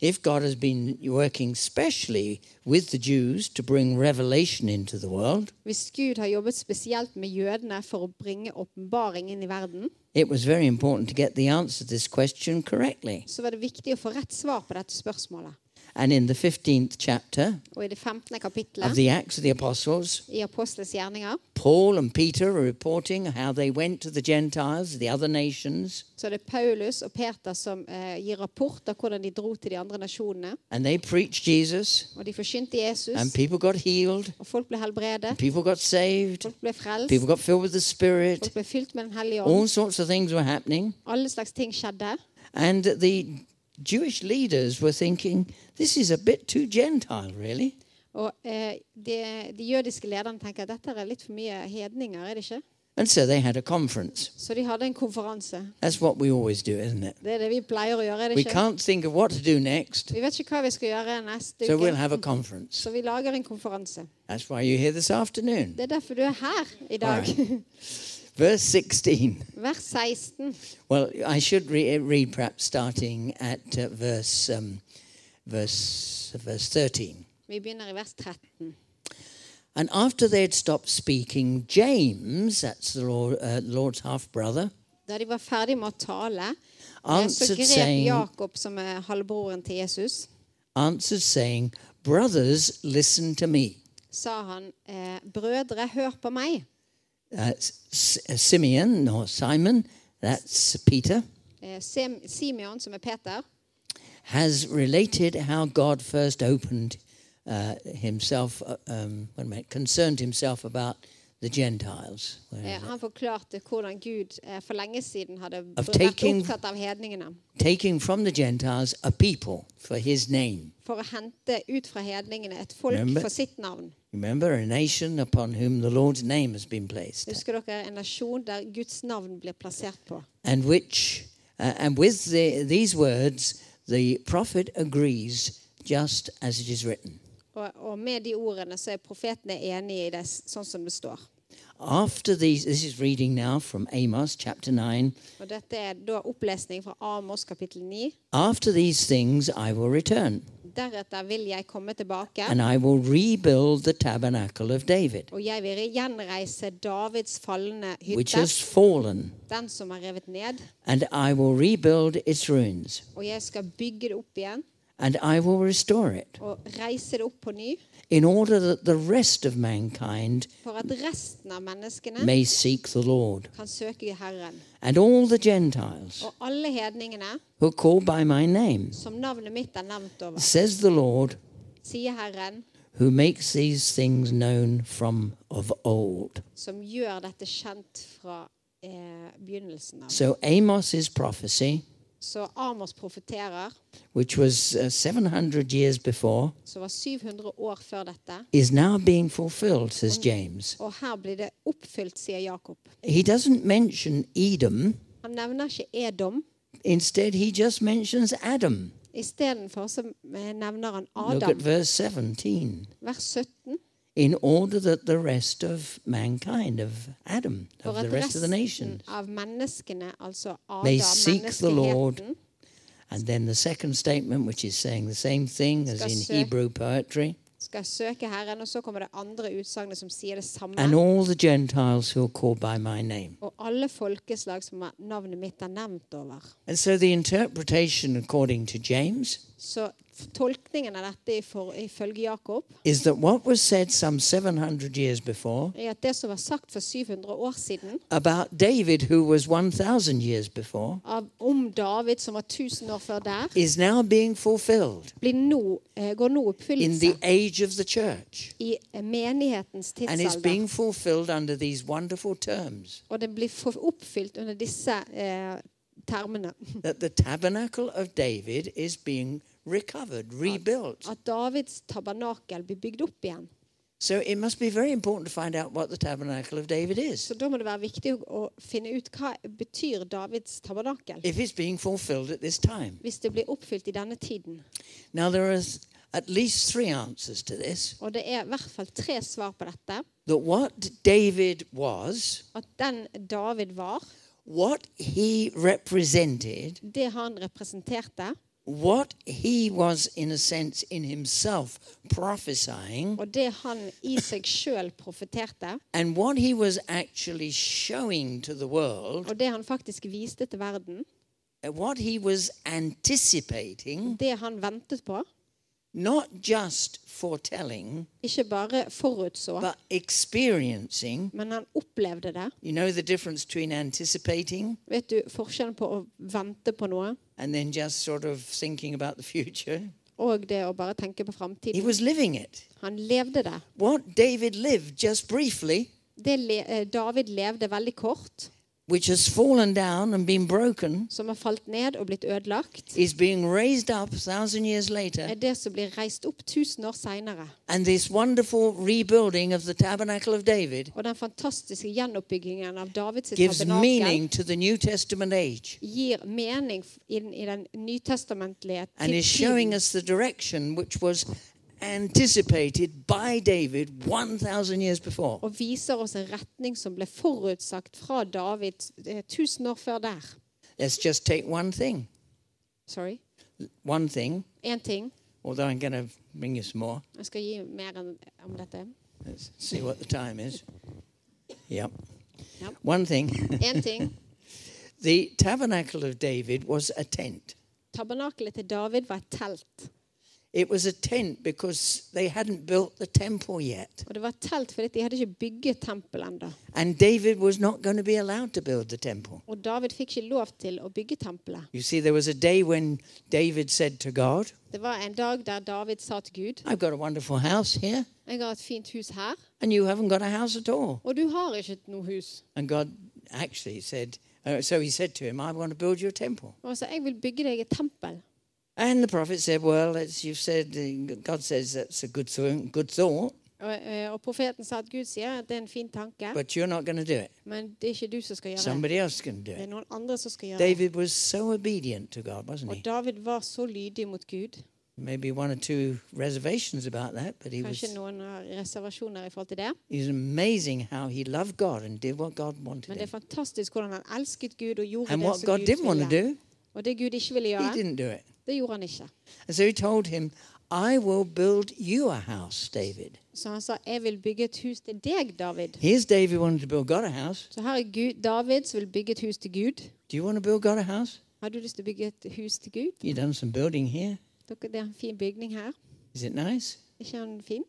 S2: If God has been working specially with the Jews to bring revelation into the world,
S1: Hvis Gud har jobbet spesielt med jødene for å bringe åpenbaring inn i verden,
S2: it was very important to get the answer to this question correctly.
S1: så var det viktig å få rett svar på dette spørsmålet.
S2: And in the 15th chapter
S1: Og i det 15.
S2: of
S1: kapittelet
S2: the Acts of the Apostles,
S1: i Apostles gjerninger
S2: Paul and Peter are reporting how they went to the Gentiles, the other nations,
S1: så er det Paulus og Peter som eh, gir rapport av hvordan de dro til de andre nasjonene.
S2: and they preached Jesus,
S1: Og de forkynte
S2: and
S1: Jesus,
S2: people got healed,
S1: og folk ble helbredet,
S2: people got saved,
S1: folk ble frelst,
S2: people got filled with the Spirit.
S1: folk ble fylt med Den hellige ånd.
S2: All sorts of things were happening.
S1: Alle slags ting skjedde.
S2: And the Jewish leaders were thinking, this is a bit too Gentile, really.
S1: Og eh, de, de jødiske lederne tenker at dette er litt for mye hedninger, er det ikke?
S2: And so they had a conference.
S1: Så de hadde en konferanse.
S2: That's what we always do, isn't it?
S1: Det er det vi pleier å gjøre, er det
S2: We
S1: ikke?
S2: can't think of what to do next,
S1: Vi vet ikke hva vi skal gjøre neste
S2: so we'll
S1: uke,
S2: have a conference.
S1: så vi lager en konferanse.
S2: That's why you're here this afternoon.
S1: Det er derfor du er her i dag. *laughs*
S2: Verse 16.
S1: Vers 16.
S2: *laughs* Well, I should re- read perhaps starting at uh, verse, um, verse, verse 13.
S1: Vi begynner i vers 13.
S2: And after they had stopped speaking, James, that's the Lord, uh, Lord's half brother,
S1: Da de var ferdige med å tale, eh, så
S2: answered,
S1: grep
S2: saying,
S1: Jakob, som er halvbroren til Jesus,
S2: answered, saying, Brothers, listen to me.
S1: sa han, eh, brødre, hør på meg.
S2: Uh, S- S- Simeon or Simon, that's Peter,
S1: Eh, Sem- Simeon, som er Peter,
S2: has related how God first opened uh, himself, uh, um, wait a minute, concerned himself about the Gentiles. Where is
S1: Eh,
S2: it?
S1: Han forklarte hvordan Gud eh, for lenge siden hadde br-
S2: Of
S1: vært
S2: taking-
S1: opptatt av hedningene.
S2: Taking from the Gentiles a people for his name.
S1: For å hente ut fra hedningene et folk
S2: Remember?
S1: for sitt navn.
S2: Remember, a nation upon whom the Lord's name has been placed,
S1: Husker dere en nasjon der Guds navn blir plassert på?
S2: and which, uh, and with the, these words, the prophet agrees, just as it is written.
S1: Og, og med de ordene så er profetene enige i det, s- sånn som det står.
S2: After these, this is reading now from Amos chapter 9.
S1: Og dette er da opplesning fra Amos kapittel 9.
S2: After these things I will return,
S1: Deretter vil jeg komme tilbake,
S2: and I will rebuild the tabernacle of David,
S1: og jeg vil gjenreise Davids fallende
S2: which
S1: hytte,
S2: has fallen,
S1: den som er revet ned,
S2: and I will rebuild its ruins,
S1: og jeg skal bygge det opp igjen
S2: and I will restore it,
S1: og reise det opp på ny.
S2: in order that the rest of mankind
S1: for at resten av menneskene
S2: may seek the Lord,
S1: kan søke Herren.
S2: and all the Gentiles
S1: Og alle hedningene
S2: who are called by my name,
S1: som navnet mitt er nevnt over,
S2: says the Lord,
S1: sier Herren,
S2: who makes these things known from of old.
S1: som gjør dette kjent fra eh, begynnelsen av.
S2: So Amos's prophecy
S1: Så Amos profeterer,
S2: which was uh, 700 years before,
S1: som var 700 år før dette,
S2: is now being fulfilled, says James.
S1: og her blir det oppfylt, sier Jakob.
S2: He doesn't mention Edom,
S1: Han nevner ikke Edom.
S2: instead, he just mentions Adam.
S1: Istedenfor så nevner han
S2: Look at
S1: Adam,
S2: verse 17.
S1: vers 17,
S2: In order that the rest of mankind, of Adam, of
S1: for
S2: the
S1: at
S2: rest of the
S1: resten
S2: nations,
S1: av menneskene, altså
S2: May
S1: Adam,
S2: seek the Lord.
S1: menneskeheten,
S2: And then the second statement, which is saying the same thing as
S1: Ska
S2: in
S1: sö-
S2: Hebrew poetry,
S1: skal søke Herren. Og så kommer det andre utsagnet som sier det
S2: and
S1: samme.
S2: all the Gentiles who are called by my name.
S1: Og alle folkeslag som er- navnet mitt er nevnt over.
S2: And so the interpretation, according to James,
S1: Så tolkningen av dette i for- ifølge Jakob
S2: is that what was said some 700 years before
S1: er at det som var sagt for 700 år siden
S2: about David, who was 1,000 years before,
S1: av, om David, som var 1000 år før der,
S2: is now being fulfilled
S1: blir nå, eh, går nå
S2: in the
S1: oppfyllelse
S2: age of the church.
S1: i eh, menighetens
S2: And it's
S1: tidsalder.
S2: being fulfilled under these
S1: *laughs*
S2: wonderful terms
S1: Og det blir for- oppfylt under disse eh, termene.
S2: that the tabernacle of David is being recovered, rebuilt.
S1: At Davids tabernakel blir bygd opp igjen.
S2: So it must be very important to find out what the tabernacle of David
S1: Så
S2: is.
S1: da må det være viktig å- å finne ut hva betyr Davids tabernakel.
S2: If it's being fulfilled at this time.
S1: Hvis det blir oppfylt i denne tiden.
S2: Now, there are at least three answers to this
S1: Og det er i hvert fall tre svar på dette.
S2: that what David was,
S1: At den David var,
S2: what he represented,
S1: det han representerte,
S2: what he was, in a sense, in himself prophesying,
S1: og det han i seg sjøl profeterte,
S2: and what he was actually showing to the world,
S1: og det han faktisk viste til verden,
S2: and what he was anticipating,
S1: det han ventet på,
S2: not just foretelling,
S1: ikke bare forutså,
S2: but experiencing.
S1: men han opplevde det.
S2: You know the difference between anticipating
S1: Vet du forskjellen på å vente på noe
S2: and then just sort of thinking about the future?
S1: og det å bare tenke på
S2: He
S1: framtiden?
S2: was living it.
S1: Han levde det.
S2: What David lived just briefly,
S1: det le eh, David levde veldig kort,
S2: which has fallen down and been broken,
S1: som har falt ned og blitt ødelagt,
S2: is being raised up a thousand years later.
S1: er det som blir reist opp tusen år seinere.
S2: And this wonderful rebuilding of the tabernacle of David
S1: Og den fantastiske gjenoppbyggingen av Davids
S2: gives
S1: tabernakel
S2: meaning to the New Testament age
S1: gir mening f- i, den- i den nytestamentlige
S2: and is showing us the direction which was anticipated by David 1,000 years before.
S1: og viser oss en retning som ble forutsagt fra David eh, tusen år før der.
S2: Let's just take one thing.
S1: Sorry.
S2: One thing.
S1: Én ting.
S2: although I'm going to bring you some more.
S1: Jeg skal gi mer enn- om dette.
S2: Let's see what the time is. Yep.
S1: Yep.
S2: One thing
S1: Én ting.
S2: *laughs* the tabernacle of David was a tent.
S1: Tabernakelet til David var et telt.
S2: It was a tent because they hadn't built the temple yet.
S1: Og det var et telt fordi de hadde ikke bygget tempel ennå.
S2: And David was not going to be allowed to build the temple.
S1: Og David fikk ikke lov til å bygge tempelet.
S2: You see, there was a day when David said to God,
S1: Det var en dag der David sa til Gud
S2: I've got a wonderful house here,
S1: Jeg har et fint hus her,
S2: and you haven't got a house at all.
S1: og du har ikke noe hus.
S2: And God actually said, uh, So he said to him, I want to build you a temple.
S1: Og han sa jeg vil bygge deg et tempel.
S2: And the prophet said, Well, it's, you've said, uh, God says that's a good, th- good thought,
S1: Og, eh, og profeten sa at Gud sier at det er en fin tanke,
S2: but you're not going to do it.
S1: men det er ikke du som skal gjøre det.
S2: Somebody else can do
S1: Det
S2: it.
S1: er noen andre som skal gjøre det.
S2: David was so obedient to God, wasn't
S1: Og
S2: he?
S1: David var så lydig mot Gud.
S2: Maybe one or two reservations about that, but he was,
S1: Kanskje noen har reservasjoner i forhold til det,
S2: he was amazing how he loved God and did what God wanted
S1: men det
S2: him.
S1: er fantastisk hvordan han elsket Gud og gjorde
S2: And
S1: det
S2: what
S1: som
S2: God
S1: Gud
S2: didn't want to
S1: ville.
S2: do,
S1: Og det Gud ikke ville
S2: he
S1: gjøre,
S2: didn't do it.
S1: det gjorde han ikke.
S2: And so he told him, I will build you a house, David.
S1: Så han sa 'Jeg vil bygge et hus til deg, David'.
S2: Here's David wanting to build God a house.
S1: Så her er Gud, David som vil bygge et hus til Gud.
S2: Do you want to build God a house?
S1: Har du lyst til å bygge et hus til Gud?
S2: You've done some building here.
S1: Dere, Det er en fin bygning her.
S2: Is it nice?
S1: Er ikke han fin?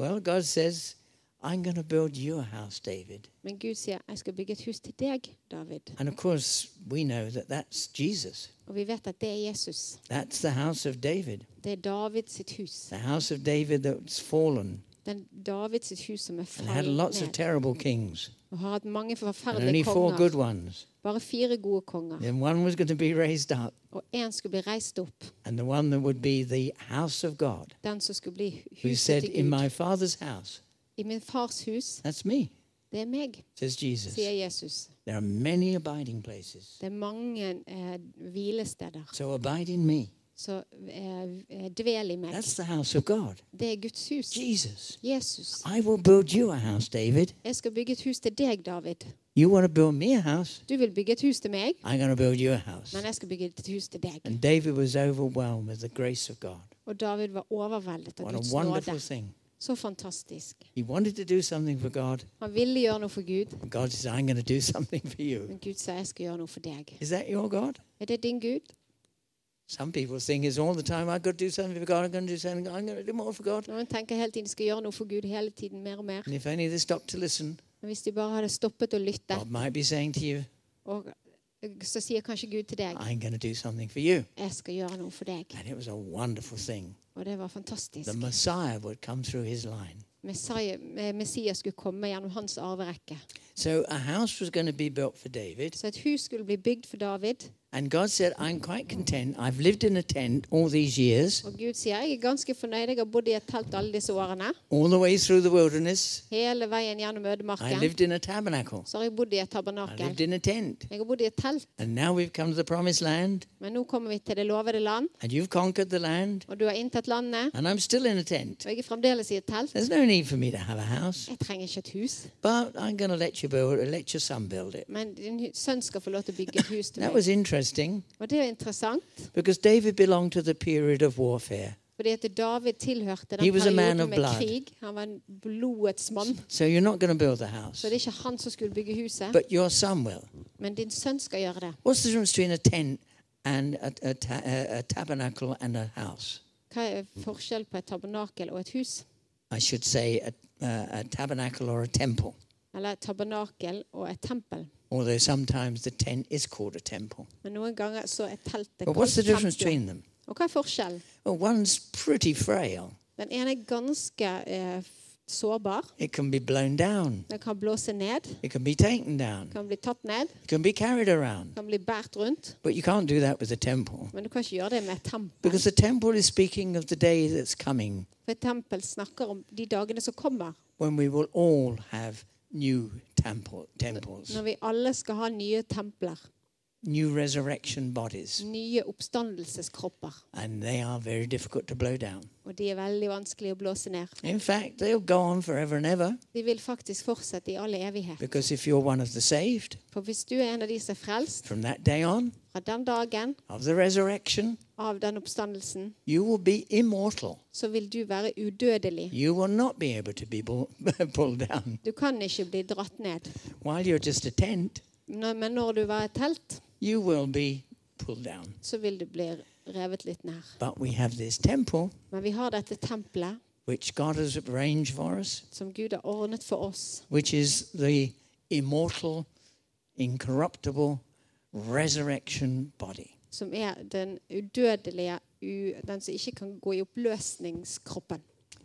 S2: Well, God says, I'm going to build you a house, David.
S1: Men Gud sier 'Jeg skal bygge et hus til deg, David'.
S2: And of course, we know that that's Jesus.
S1: Og vi vet at det er Jesus.
S2: That's the house of David,
S1: Det er Davids sitt hus.
S2: the house of David that's fallen.
S1: Den Davids sitt hus som er
S2: and had
S1: falt
S2: lots of
S1: ned.
S2: terrible kings
S1: Og har hatt mange
S2: and only
S1: forferdelige
S2: four good
S1: konger.
S2: ones.
S1: Bare fire gode konger.
S2: Then one was going to be raised up,
S1: Og én skulle bli reist opp.
S2: and the one that would be the house of God,
S1: Den som skulle bli
S2: who said,
S1: huset til
S2: In
S1: Gud.
S2: my Father's house,
S1: I min fars hus,
S2: that's me,
S1: det er meg,
S2: says Jesus.
S1: sier Jesus.
S2: There are many abiding places.
S1: Det er mange eh, hvilesteder.
S2: So abide in me.
S1: Så eh, dvel i meg.
S2: That's the house of God,
S1: Det er Guds hus.
S2: Jesus.
S1: Jesus.
S2: I will build you a house, David.
S1: Jeg skal bygge et hus til deg, David.
S2: You want to build me a house?
S1: Du vil bygge et hus til meg,
S2: I'm going to build you a house.
S1: men jeg skal bygge et hus til deg.
S2: And David was overwhelmed with the grace of God.
S1: Og David var overveldet av
S2: What
S1: Guds
S2: a
S1: nåde.
S2: wonderful thing.
S1: Så fantastisk.
S2: He wanted to do something for God.
S1: Han ville gjøre noe for Gud,
S2: And God said, I'm going to do *laughs* something for you.
S1: men Gud sa jeg skal gjøre noe for deg.
S2: Is that your God?
S1: Er det din Gud?
S2: Some people sing this all the time. I've got to do something for God. I'm going to do something. I'm going to do more for God.
S1: Noen tenker hele tiden de skal gjøre noe for Gud hele tiden, mer og mer.
S2: And if only they stopped to listen,
S1: Men hvis de bare hadde stoppet å lytte,
S2: God might be saying to you,
S1: og så sier kanskje Gud til deg
S2: I'm going to do something for you.
S1: jeg skal gjøre noe for deg.
S2: And it was a wonderful thing.
S1: Og det var
S2: The
S1: fantastisk.
S2: Messiah would come through his line.
S1: Messiah, eh, Messias skulle komme gjennom hans arverekke.
S2: So a house was going to be built for David.
S1: Så et hus skulle bli bygd for David.
S2: And God said, I'm quite content. I've lived in a tent all these years,
S1: Og Gud sier jeg er ganske fornøyd. Jeg har bodd i et telt alle disse årene.
S2: all the way through the wilderness.
S1: Hele veien gjennom
S2: I
S1: ødemarken.
S2: lived in a tabernacle.
S1: Så har jeg bodd i et
S2: I
S1: tabernakel.
S2: lived in a tent.
S1: Jeg har bodd i et telt,
S2: And now we've come to the promised land,
S1: men nå kommer vi til det lovede land.
S2: and you've conquered the land,
S1: Og du har inntatt landet,
S2: and I'm still in a tent.
S1: og jeg er fremdeles i et telt.
S2: There's no need for me to have a house,
S1: Jeg trenger ikke et hus,
S2: but I'm going to let you build it, let your son build it.
S1: men din hu- sønn skal få lov til å bygge et hus til
S2: That
S1: meg.
S2: was interesting
S1: Og det er jo interessant,
S2: because David belonged to the period of warfare.
S1: fordi at David tilhørte den
S2: He was a man
S1: perioden
S2: of
S1: med
S2: blood.
S1: krig. Han var en blodets mann.
S2: So you're not going to build a house,
S1: Så det er ikke han som skulle bygge huset,
S2: but your son will.
S1: men din sønn skal gjøre det.
S2: What's the difference between a tent and a, a, ta- a, a tabernacle and a house?
S1: Hva er forskjell på et tabernakel og et hus?
S2: I should say, a, uh, a tabernacle or a temple,
S1: Eller et tabernakel og et tempel.
S2: although sometimes the tent is called a temple.
S1: Men noen ganger så er teltet
S2: But what's the difference
S1: tempel.
S2: between them?
S1: Og hva er forskjellen?
S2: Well, one's pretty frail,
S1: Den ene er ganske eh, f- sårbar.
S2: it can be blown down,
S1: Den kan blåse ned,
S2: it can be taken down,
S1: kan bli tatt ned,
S2: it can be carried around.
S1: kan bli båret rundt.
S2: But you can't do that with a temple.
S1: Men du kan ikke gjøre det med et tempel.
S2: Because the temple is speaking of the day that's coming
S1: For et tempel snakker om de dagene som kommer,
S2: when we will all have new temple, temples,
S1: når vi alle skal ha nye templer.
S2: new resurrection bodies,
S1: Nye oppstandelseskropper.
S2: and they are very difficult to blow down.
S1: Og de er veldig vanskelig å blåse ned.
S2: In fact, they'll go on forever and ever
S1: De vil faktisk fortsette i all evighet.
S2: because if you're one of the saved,
S1: For hvis du er en av de som er frelst
S2: from that day on
S1: fra den dagen
S2: of the resurrection,
S1: av den oppstandelsen,
S2: you will be immortal.
S1: så vil du være udødelig.
S2: You will not be able to be bull- *laughs* pulled down.
S1: Du kan ikke bli dratt ned.
S2: While you're just a tent,
S1: Når- Men når du var et telt,
S2: you will be pulled down.
S1: så vil du bli revet litt ned.
S2: But we have this temple
S1: Men vi har dette tempelet
S2: which God has arranged for us,
S1: som Gud har ordnet for oss,
S2: which is the immortal, incorruptible resurrection body.
S1: som er den udødelige, u, den som ikke kan gå i oppløsningskroppen.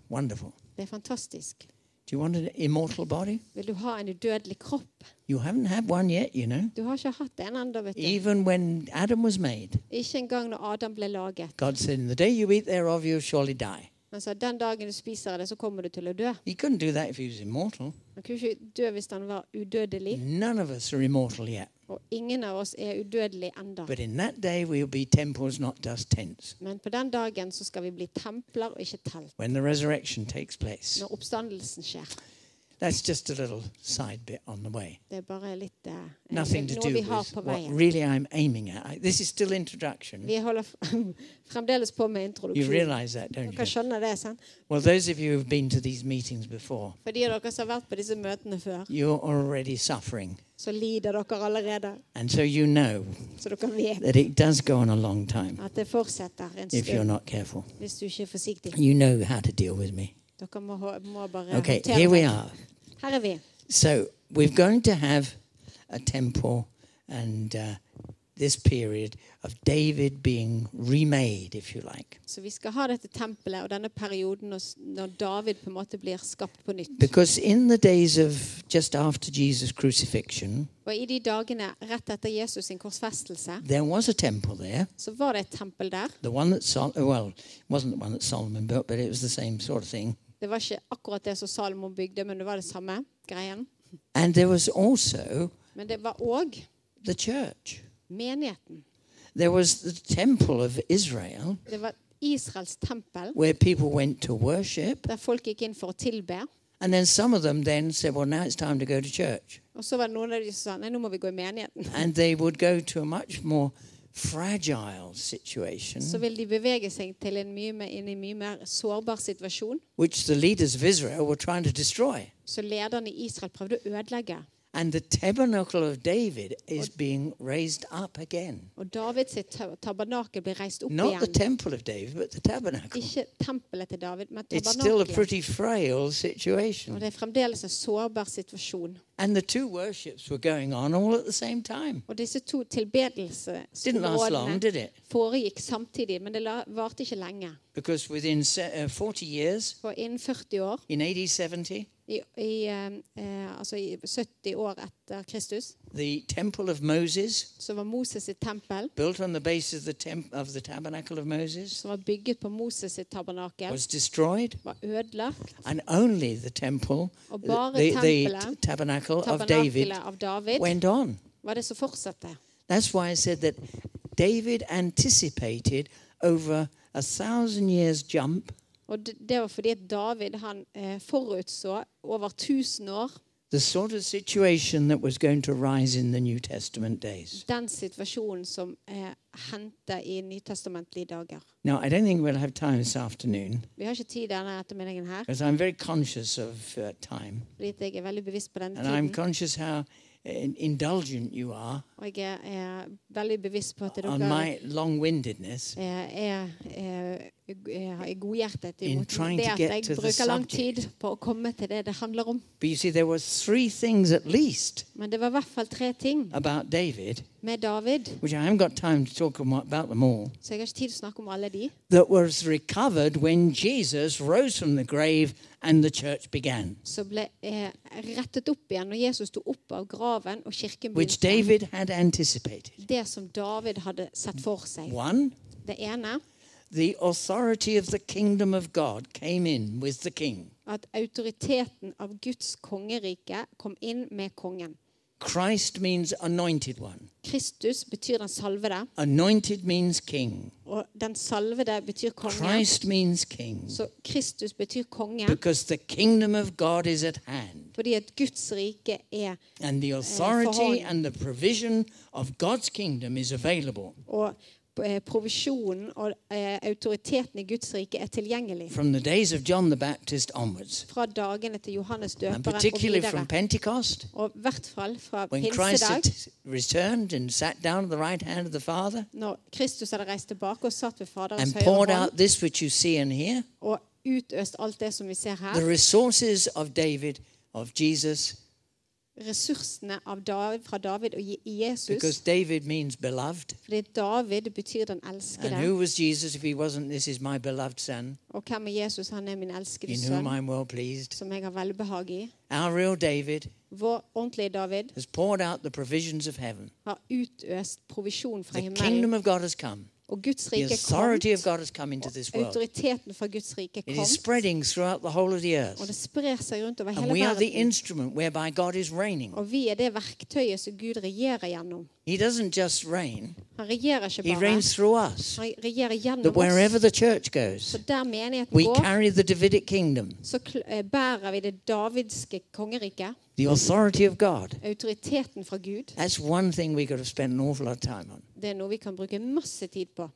S2: Wonderful.
S1: Det er fantastisk.
S2: Do you want an immortal body?
S1: Vil du ha en udødelig kropp?
S2: You haven't had one yet, you know.
S1: Du har ikke hatt en ennå, vet du.
S2: Even when Adam was made,
S1: Ikke engang når Adam ble laget.
S2: God said, In the day you eat thereof, you'll surely die.
S1: Han sa den dagen du spiser av det, så kommer du til å dø.
S2: He couldn't do that if he was immortal.
S1: Han kunne ikke dø hvis han var udødelig,
S2: None of us are immortal yet.
S1: og ingen av oss er udødelig enda.
S2: But in that day, we'll be temples, not just tents,
S1: Men på den dagen så skal vi bli templer og ikke telt.
S2: when the resurrection takes place.
S1: Når oppstandelsen skjer.
S2: That's just a little side bit on the way.
S1: Det er bare litt eh,
S2: Nothing to
S1: noe
S2: do
S1: vi
S2: with
S1: har på
S2: what
S1: veien.
S2: really I'm aiming at. I, this is still introduction.
S1: Vi holder f- *laughs* fremdeles på med
S2: You
S1: introduksjon.
S2: realize that, don't
S1: Dere
S2: you?
S1: skjønner det, sant?
S2: Well, those of you who've been to these meetings before,
S1: For de av dere som har vært på disse møtene før,
S2: you're already suffering.
S1: så lider dere allerede.
S2: And so you know
S1: Så dere vet
S2: that it does go on a long time
S1: at det fortsetter en
S2: if you're
S1: stund
S2: not careful.
S1: hvis du ikke er forsiktig.
S2: You know how to deal with me.
S1: Dere må, ha- må bare
S2: Okay,
S1: håndtere
S2: here we
S1: det.
S2: are.
S1: Her er vi.
S2: So we're going to have a temple and uh, this period of David being remade, if you like.
S1: Så vi skal ha dette tempelet og denne perioden når s- når David på en måte blir skapt på nytt.
S2: Because in the days of just after Jesus' crucifixion,
S1: Og i de dagene rett etter Jesus sin korsfestelse,
S2: there was a temple there.
S1: så var det et tempel der.
S2: The one that Sol- well, it wasn't the one that Solomon built, but it was the same sort of thing.
S1: Det var ikke akkurat det som Salomo bygde, men det var det samme greien.
S2: And there was also
S1: Men det var òg
S2: the church.
S1: menigheten.
S2: There was the temple of Israel
S1: Det var Israels tempel,
S2: where people went to worship,
S1: der folk gikk inn for å tilbe.
S2: and then some of them then said, "Well, now it's time to go to church."
S1: Og så var det noen av de som sa nei, nå må vi gå i menigheten.
S2: And they would go to a much more fragile situation
S1: Så vil de bevege seg til en mye mer, inn i en mye mer sårbar situasjon,
S2: which the leaders of Israel were trying to destroy.
S1: så lederne i Israel prøvde å ødelegge.
S2: And the tabernacle of David is being raised up again.
S1: Og David sitt ta- tabernakel blir reist opp
S2: Not the
S1: igjen.
S2: temple of David, but the tabernacle.
S1: Ikke tempelet til David, men
S2: It's still a
S1: tabernakelet.
S2: pretty frail
S1: Og
S2: situation.
S1: det er fremdeles en sårbar situasjon.
S2: And the two worships were going on all at the same time.
S1: Og disse to
S2: Didn't last long,
S1: tilbedelsesområdene
S2: did it?
S1: foregikk samtidig, men det la- varte ikke lenge.
S2: Because within se- uh, 40 years,
S1: For innen 40 år,
S2: in AD 70,
S1: i, i, eh, eh, altså i 70 år etter Kristus,
S2: the temple of Moses,
S1: så var Moses sitt tempel,
S2: built on the basis of the, temp- of the tabernacle of Moses,
S1: som var bygget på Moses sitt tabernakel,
S2: was destroyed.
S1: var ødelagt.
S2: And only the temple,
S1: Og
S2: the,
S1: bare
S2: the t-
S1: tempelet,
S2: tabernacle uh, of David,
S1: Tabernakelet av David
S2: went on.
S1: var det som fortsatte.
S2: That's why I said that David anticipated over a thousand years jump
S1: Og d- det var fordi at David han eh, forutså over 1000 år
S2: the sort of situation that was going to rise in the New Testament days.
S1: den situasjonen som eh, hendte i nytestamentlige dager.
S2: Now, I don't think we'll have time this afternoon
S1: Vi har ikke tid denne ettermiddagen her,
S2: because I'm very conscious of uh, time
S1: fordi at jeg er veldig bevisst på denne
S2: and I'm
S1: tiden.
S2: conscious how uh, indulgent you are
S1: Og jeg er, er veldig bevisst på at dere
S2: on my long windedness.
S1: eh, er, er, er godhjertet
S2: In
S1: imot
S2: trying
S1: det
S2: to
S1: at
S2: get
S1: jeg
S2: to the
S1: bruker lang
S2: subject.
S1: tid på å komme til det det handler om.
S2: But you see, there were three things at least
S1: Men det var i hvert fall tre ting
S2: about David,
S1: med David,
S2: which I haven't got time to talk am- about them all,
S1: så jeg har ikke tid til å snakke om alle de,
S2: that was recovered when Jesus rose from the grave and the church began,
S1: som ble eh, rettet opp igjen når Jesus sto opp av graven og kirken
S2: which
S1: begynte.
S2: David had anticipated.
S1: Det som David hadde sett for seg.
S2: One,
S1: Det ene
S2: the authority of the kingdom of God came in with the king.
S1: at autoriteten av Guds kongerike kom inn med kongen.
S2: Christ means anointed one.
S1: Kristus betyr den salvede,
S2: Anointed means king.
S1: og den salvede betyr konge.
S2: Christ means king.
S1: Så Kristus betyr konge
S2: Because the kingdom of God is at hand.
S1: fordi at Guds rike er
S2: And the authority and the provision of God's kingdom is available
S1: og eh, provisjonen og eh, autoriteten i Guds rike er tilgjengelig
S2: from the days of John the Baptist onwards.
S1: fra dagene til Johannes
S2: And
S1: døperen og
S2: particularly from
S1: videre.
S2: Pentecost,
S1: Og i hvert fall fra
S2: when Christ
S1: pinsedag,
S2: had returned and sat down at the right hand of the Father
S1: når Kristus hadde reist tilbake og satt ved Faderens
S2: and
S1: høyre
S2: poured
S1: hånd
S2: out this which you see and hear.
S1: og utøst alt det som vi ser
S2: the
S1: her.
S2: resources of David, of Jesus,
S1: Ressursene av David, fra David og Je- i
S2: because
S1: Jesus.
S2: David means beloved.
S1: Fordi David betyr den
S2: And
S1: elskede.
S2: who was Jesus if he wasn't, this is my beloved son,
S1: Og hvem er Jesus? Han er min elskede
S2: in whom
S1: sønn,
S2: I'm well pleased?
S1: som jeg har velbehag i.
S2: Our real David
S1: Vår ordentlige David
S2: has poured out the provisions of heaven.
S1: har utøst provisjon fra
S2: The
S1: himmelen.
S2: kingdom of God has come,
S1: Og Guds
S2: the
S1: rike
S2: authority of
S1: kom.
S2: God has come into this world.
S1: Autoriteten fra Guds rike
S2: It is
S1: kom.
S2: spreading throughout the whole of the
S1: Og
S2: earth.
S1: det sprer seg rundt over
S2: And
S1: hele
S2: we are the
S1: verden.
S2: instrument whereby God is reigning.
S1: Og vi er det verktøyet som Gud regjerer gjennom.
S2: He doesn't just reign,
S1: Han regjerer ikke
S2: He
S1: bare.
S2: reigns through us.
S1: Han regjerer
S2: That
S1: gjennom oss.
S2: wherever the church goes,
S1: Så der menigheten
S2: we
S1: går,
S2: carry the Davidic kingdom,
S1: så kl- eh, bærer vi det davidske kongeriket.
S2: the authority of God.
S1: Autoriteten fra Gud.
S2: That's one thing we could have spent an awful lot of time on,
S1: Det er noe vi kan bruke masse tid på.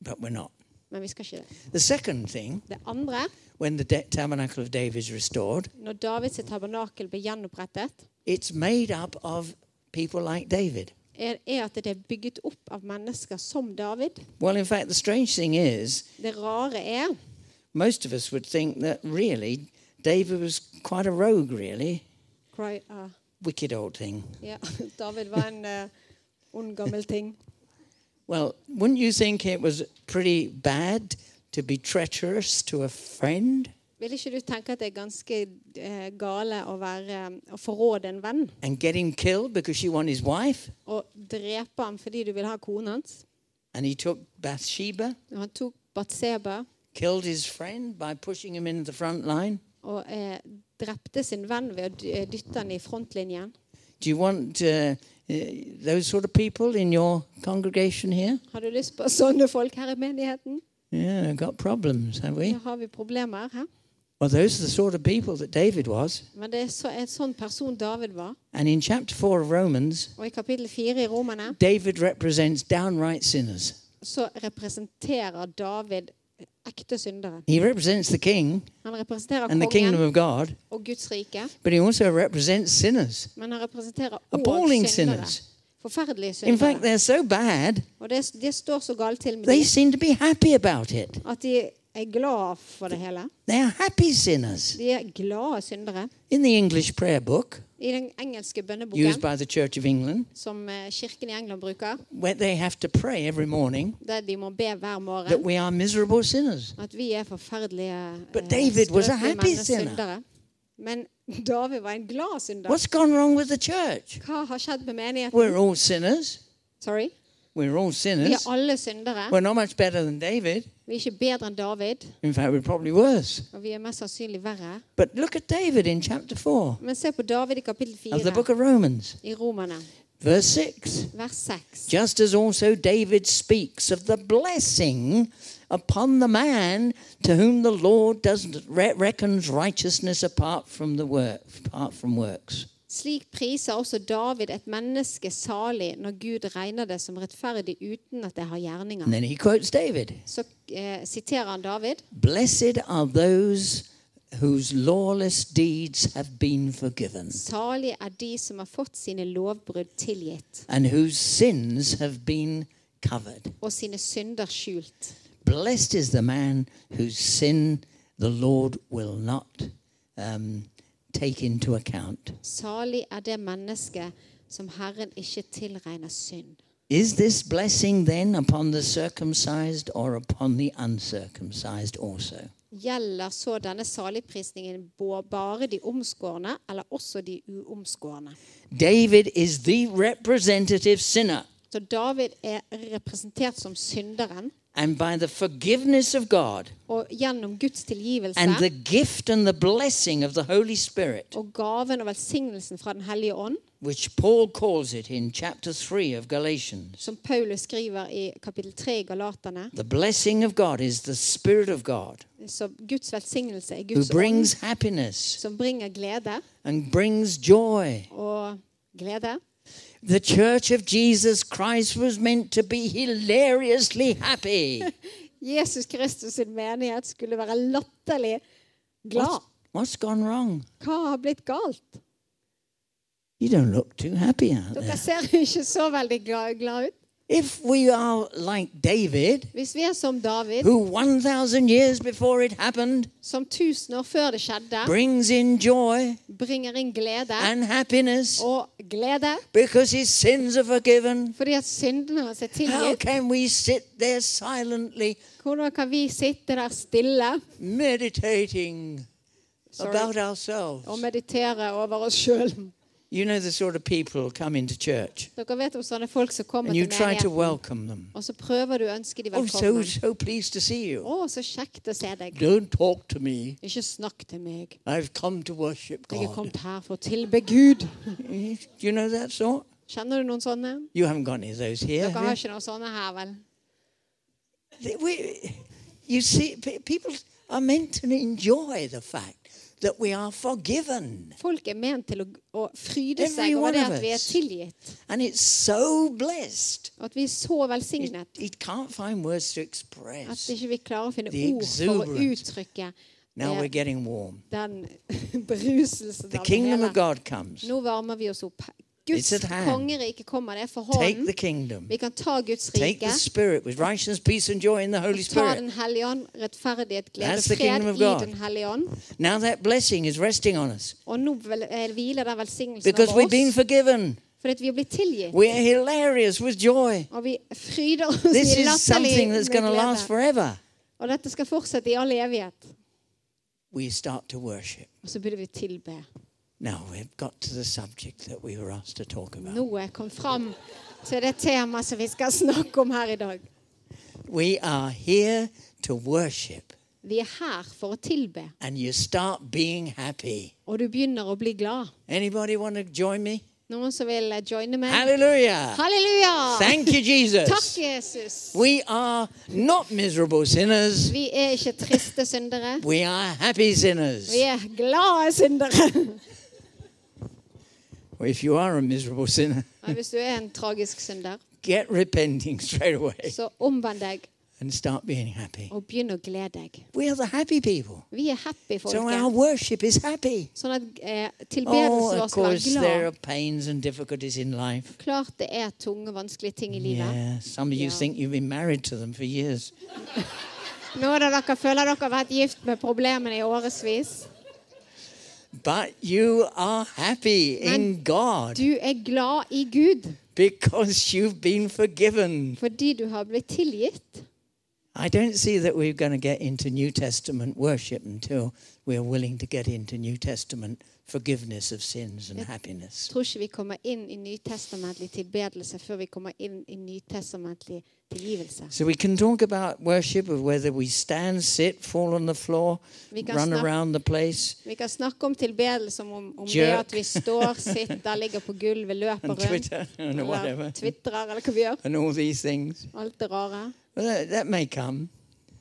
S2: but we're not.
S1: Men vi skal ikke det.
S2: The second thing,
S1: Det andre,
S2: when the de- tabernacle of David is restored,
S1: når Davids tabernakel blir gjenopprettet,
S2: it's made up of people like David.
S1: er, er at det er bygget opp av mennesker som David.
S2: Well, in fact, the strange thing is,
S1: Det rare er
S2: most of us would think that really David was quite a rogue, really.
S1: Cry, ah,
S2: Wicked old thing.
S1: *laughs* ja, David var en eh, ond, gammel ting.
S2: Well, wouldn't you think it was pretty bad to be treacherous to a friend
S1: Vil ikke du tenke at det er ganske eh, gale å, være, eh, å forråde en venn
S2: and get him killed because you want his wife?
S1: og drepe ham fordi du vil ha konen hans?
S2: And he took Bathsheba,
S1: Og Han tok Batseba
S2: killed his friend by pushing him into the front line.
S1: og eh, drepte sin venn ved å dy- eh, dytte han i frontlinjen.
S2: Do you want uh, uh, those sort of people in your congregation here?
S1: Har du lyst på sånne folk her i menigheten?
S2: Yeah, got problems, have we?
S1: Da har vi problemer her.
S2: Well, those are the sort of people that David was.
S1: Men det er så, en sånn person David var.
S2: And in chapter 4 of Romans,
S1: Og i kapittel 4 i Romerne
S2: David represents downright sinners.
S1: så representerer David ekte syndere.
S2: He represents the king
S1: Han representerer
S2: and the kingdom
S1: kongen
S2: of God,
S1: og Guds rike,
S2: but he also represents sinners.
S1: men han representerer
S2: Appalling
S1: òg syndere.
S2: sinners.
S1: Forferdelige
S2: In fact,
S1: syndere.
S2: they're so bad,
S1: Og det, det står så galt til med
S2: they
S1: dem
S2: seem to be happy about it.
S1: at de er glad for det hele.
S2: They are happy sinners.
S1: De er glade syndere.
S2: In the English prayer book
S1: I den engelske
S2: used
S1: bønneboken
S2: by the Church of England,
S1: som eh, kirken i England bruker,
S2: where they have to pray every morning
S1: der de må be hver
S2: that
S1: morgen
S2: we are miserable sinners.
S1: at vi er forferdelige
S2: But
S1: eh,
S2: David was
S1: skrøpelige
S2: a happy
S1: menn og
S2: sinner.
S1: syndere. Men David var en glad synder.
S2: What's gone wrong with the church?
S1: Hva har skjedd med menigheten?
S2: We're all sinners.
S1: Sorry.
S2: We're all
S1: Vi er
S2: sinners.
S1: alle syndere.
S2: We're not much better than David.
S1: Vi er ikke bedre enn David,
S2: In fact, we're probably worse.
S1: og vi er mest sannsynlig verre.
S2: But look at David in chapter 4
S1: Men se på David i kapittel
S2: of the book
S1: 4
S2: of Romans,
S1: i Romerne,
S2: verse 6.
S1: vers 6.
S2: Just as also David speaks of the blessing upon the man to whom the Lord does re- reckons righteousness apart from the work, apart from works.
S1: Slik priser også David et menneske salig når Gud regner det som rettferdig uten at det har
S2: And
S1: gjerninger.
S2: then he quotes David.
S1: Så eh, siterer han David.
S2: Blessed are those whose lawless deeds have been forgiven
S1: Salig er de som har fått sine lovbrudd tilgitt
S2: and whose sins have been covered.
S1: og sine synder skjult.
S2: Blessed is the man whose sin the Lord will not um, take into account.
S1: Salig er det menneske som Herren ikke tilregner synd.
S2: Is this blessing then upon the circumcised or upon the uncircumcised also?
S1: Gjelder så denne saligprisningen bo- bare de omskårne eller også de uomskårne?
S2: David is the representative sinner,
S1: Så David er representert som synderen,
S2: and by the forgiveness of God
S1: og gjennom Guds
S2: and the
S1: tilgivelse
S2: gift and the blessing of the Holy Spirit,
S1: og gaven og velsignelsen fra Den hellige ånd,
S2: which Paul calls it in chapter 3 of Galatians.
S1: som Paulus skriver i kapittel 3 i Galaterne,
S2: The blessing of God is the Spirit of God
S1: så Guds velsignelse er
S2: who
S1: Guds ånd
S2: brings happiness
S1: som bringer glede
S2: and brings joy.
S1: og glede.
S2: The church of Jesus Christ was meant to be hilariously happy.
S1: Jesus Kristus sin menighet skulle være latterlig glad.
S2: What's, what's gone wrong?
S1: Hva har blitt galt?
S2: You don't look too happy out there.
S1: Dere ser jo ikke så veldig glad, glad ut.
S2: If we are like David,
S1: Hvis vi er som David,
S2: who 1,000 years before it happened
S1: som tusen år før det skjedde,
S2: brings in joy
S1: bringer inn glede
S2: and happiness
S1: og glede
S2: because his sins are forgiven,
S1: fordi at syndene hans er
S2: how
S1: tilgitt,
S2: can we sit there silently
S1: hvordan kan vi sitte der stille
S2: meditating about
S1: sorry, Oh, og
S2: ourselves?
S1: meditere over oss sjøl?
S2: You know the sort of people who come into church
S1: Dere vet om sånne folk som kommer
S2: and you
S1: til
S2: try to
S1: menigheten,
S2: welcome them.
S1: og så prøver du å ønske dem
S2: Oh, so,
S1: velkommen.
S2: so pleased to see you.
S1: Å, så kjekt å se deg.
S2: Don't talk to me.
S1: Ikke snakk til meg.
S2: I've come to worship
S1: Jeg er
S2: God. Mm-hmm.
S1: kommet her for å tilbe Gud.
S2: Do you know that sort?
S1: Kjenner du noen sånne?
S2: You haven't got any of those here.
S1: Dere
S2: have
S1: har
S2: you?
S1: ikke noen sånne her, vel?
S2: They- we- you see, pe- people are meant to enjoy the fact that we are forgiven.
S1: Folk er ment til å, å fryde
S2: Every
S1: seg over
S2: one
S1: det
S2: of
S1: at vi er
S2: us.
S1: tilgitt.
S2: And it's so blessed.
S1: Og at vi er så
S2: It,
S1: velsignet
S2: it can't find words to
S1: at
S2: express.
S1: ikke vi klarer å finne
S2: The
S1: ord for å
S2: exuberance.
S1: uttrykke
S2: Now
S1: eh,
S2: we're getting warm.
S1: den *laughs* beruselsen
S2: The
S1: av det
S2: kingdom of
S1: hele.
S2: God comes.
S1: Nå varmer vi oss opp. Guds
S2: It's at hand.
S1: kongerike kommer, det er for
S2: Take
S1: hånden.
S2: the kingdom.
S1: Vi kan ta Guds
S2: Take
S1: rike.
S2: the Spirit with righteousness, peace, and joy in the Holy
S1: Ta
S2: Spirit.
S1: Den hellige ånd, rettferdighet, glede,
S2: That's the
S1: fred
S2: kingdom of
S1: i
S2: God.
S1: Den hellige ånd.
S2: Now that blessing is resting on us
S1: Og nå vel- eh, hviler den velsignelsen
S2: because
S1: over
S2: we've been
S1: oss.
S2: forgiven.
S1: Fordi at vi er blitt tilgitt.
S2: We're hilarious with joy.
S1: Og vi fryder oss
S2: This
S1: i
S2: is
S1: latterlig
S2: something that's
S1: med
S2: going to last
S1: glede.
S2: forever.
S1: Og dette skal fortsette i all evighet.
S2: We start to worship.
S1: Og så burde vi tilbe.
S2: Now we've got to the subject that we were asked to talk about.
S1: Nå er jeg kom fram til det temaet som vi skal snakke om her i dag.
S2: We are here to worship,
S1: Vi er her for å tilbe,
S2: and you start being happy.
S1: og du begynner å bli glad.
S2: Anybody want to join me?
S1: Noen som vil eh, joine meg?
S2: Hallelujah!
S1: Halleluja!
S2: Thank *laughs* you,
S1: Takk,
S2: Jesus.
S1: Jesus.
S2: We are not miserable sinners.
S1: Vi er ikke triste syndere.
S2: We are happy sinners.
S1: Vi er glade syndere.
S2: If you are a miserable sinner,
S1: Og hvis du er en tragisk synder,
S2: get repenting *laughs* straight away
S1: så omvend deg
S2: and start being happy.
S1: og begynn å glede deg.
S2: We are the happy people.
S1: Vi er happy,
S2: So our
S1: folket.
S2: worship is happy.
S1: Sånn at eh, tilbedelsen
S2: Oh,
S1: vår
S2: of
S1: skal være
S2: course, there are
S1: glad.
S2: pains and difficulties in life.
S1: Klart det er tunge, vanskelige ting i livet.
S2: Yeah, some of you
S1: Yeah.
S2: think you've been married to them for years.
S1: Nå da dere føler dere har vært gift med problemene i årevis.
S2: But you are happy in God
S1: Du er glad i Gud
S2: because you've been forgiven.
S1: fordi du har blitt tilgitt.
S2: I don't see that we're going to get into New Testament worship until we're willing to get into New Testament forgiveness of sins and happiness.
S1: Jeg tror ikke vi kommer inn i nytestamentlig tilbedelse før vi kommer inn i nytestamentlig tilgivelse.
S2: So we can talk about worship of whether we stand, sit, fall on the floor,
S1: Vi kan
S2: run
S1: snakke-
S2: around the place,
S1: Vi kan snakke om tilbedelse som om, om det
S2: Jerk.
S1: at vi står, sitter, ligger på gulvet, løper
S2: *laughs* and
S1: rundt
S2: Twitter and
S1: eller
S2: whatever,
S1: tvitrer eller hva vi gjør.
S2: and all these things.
S1: Alt det rare.
S2: Well, that, that may come.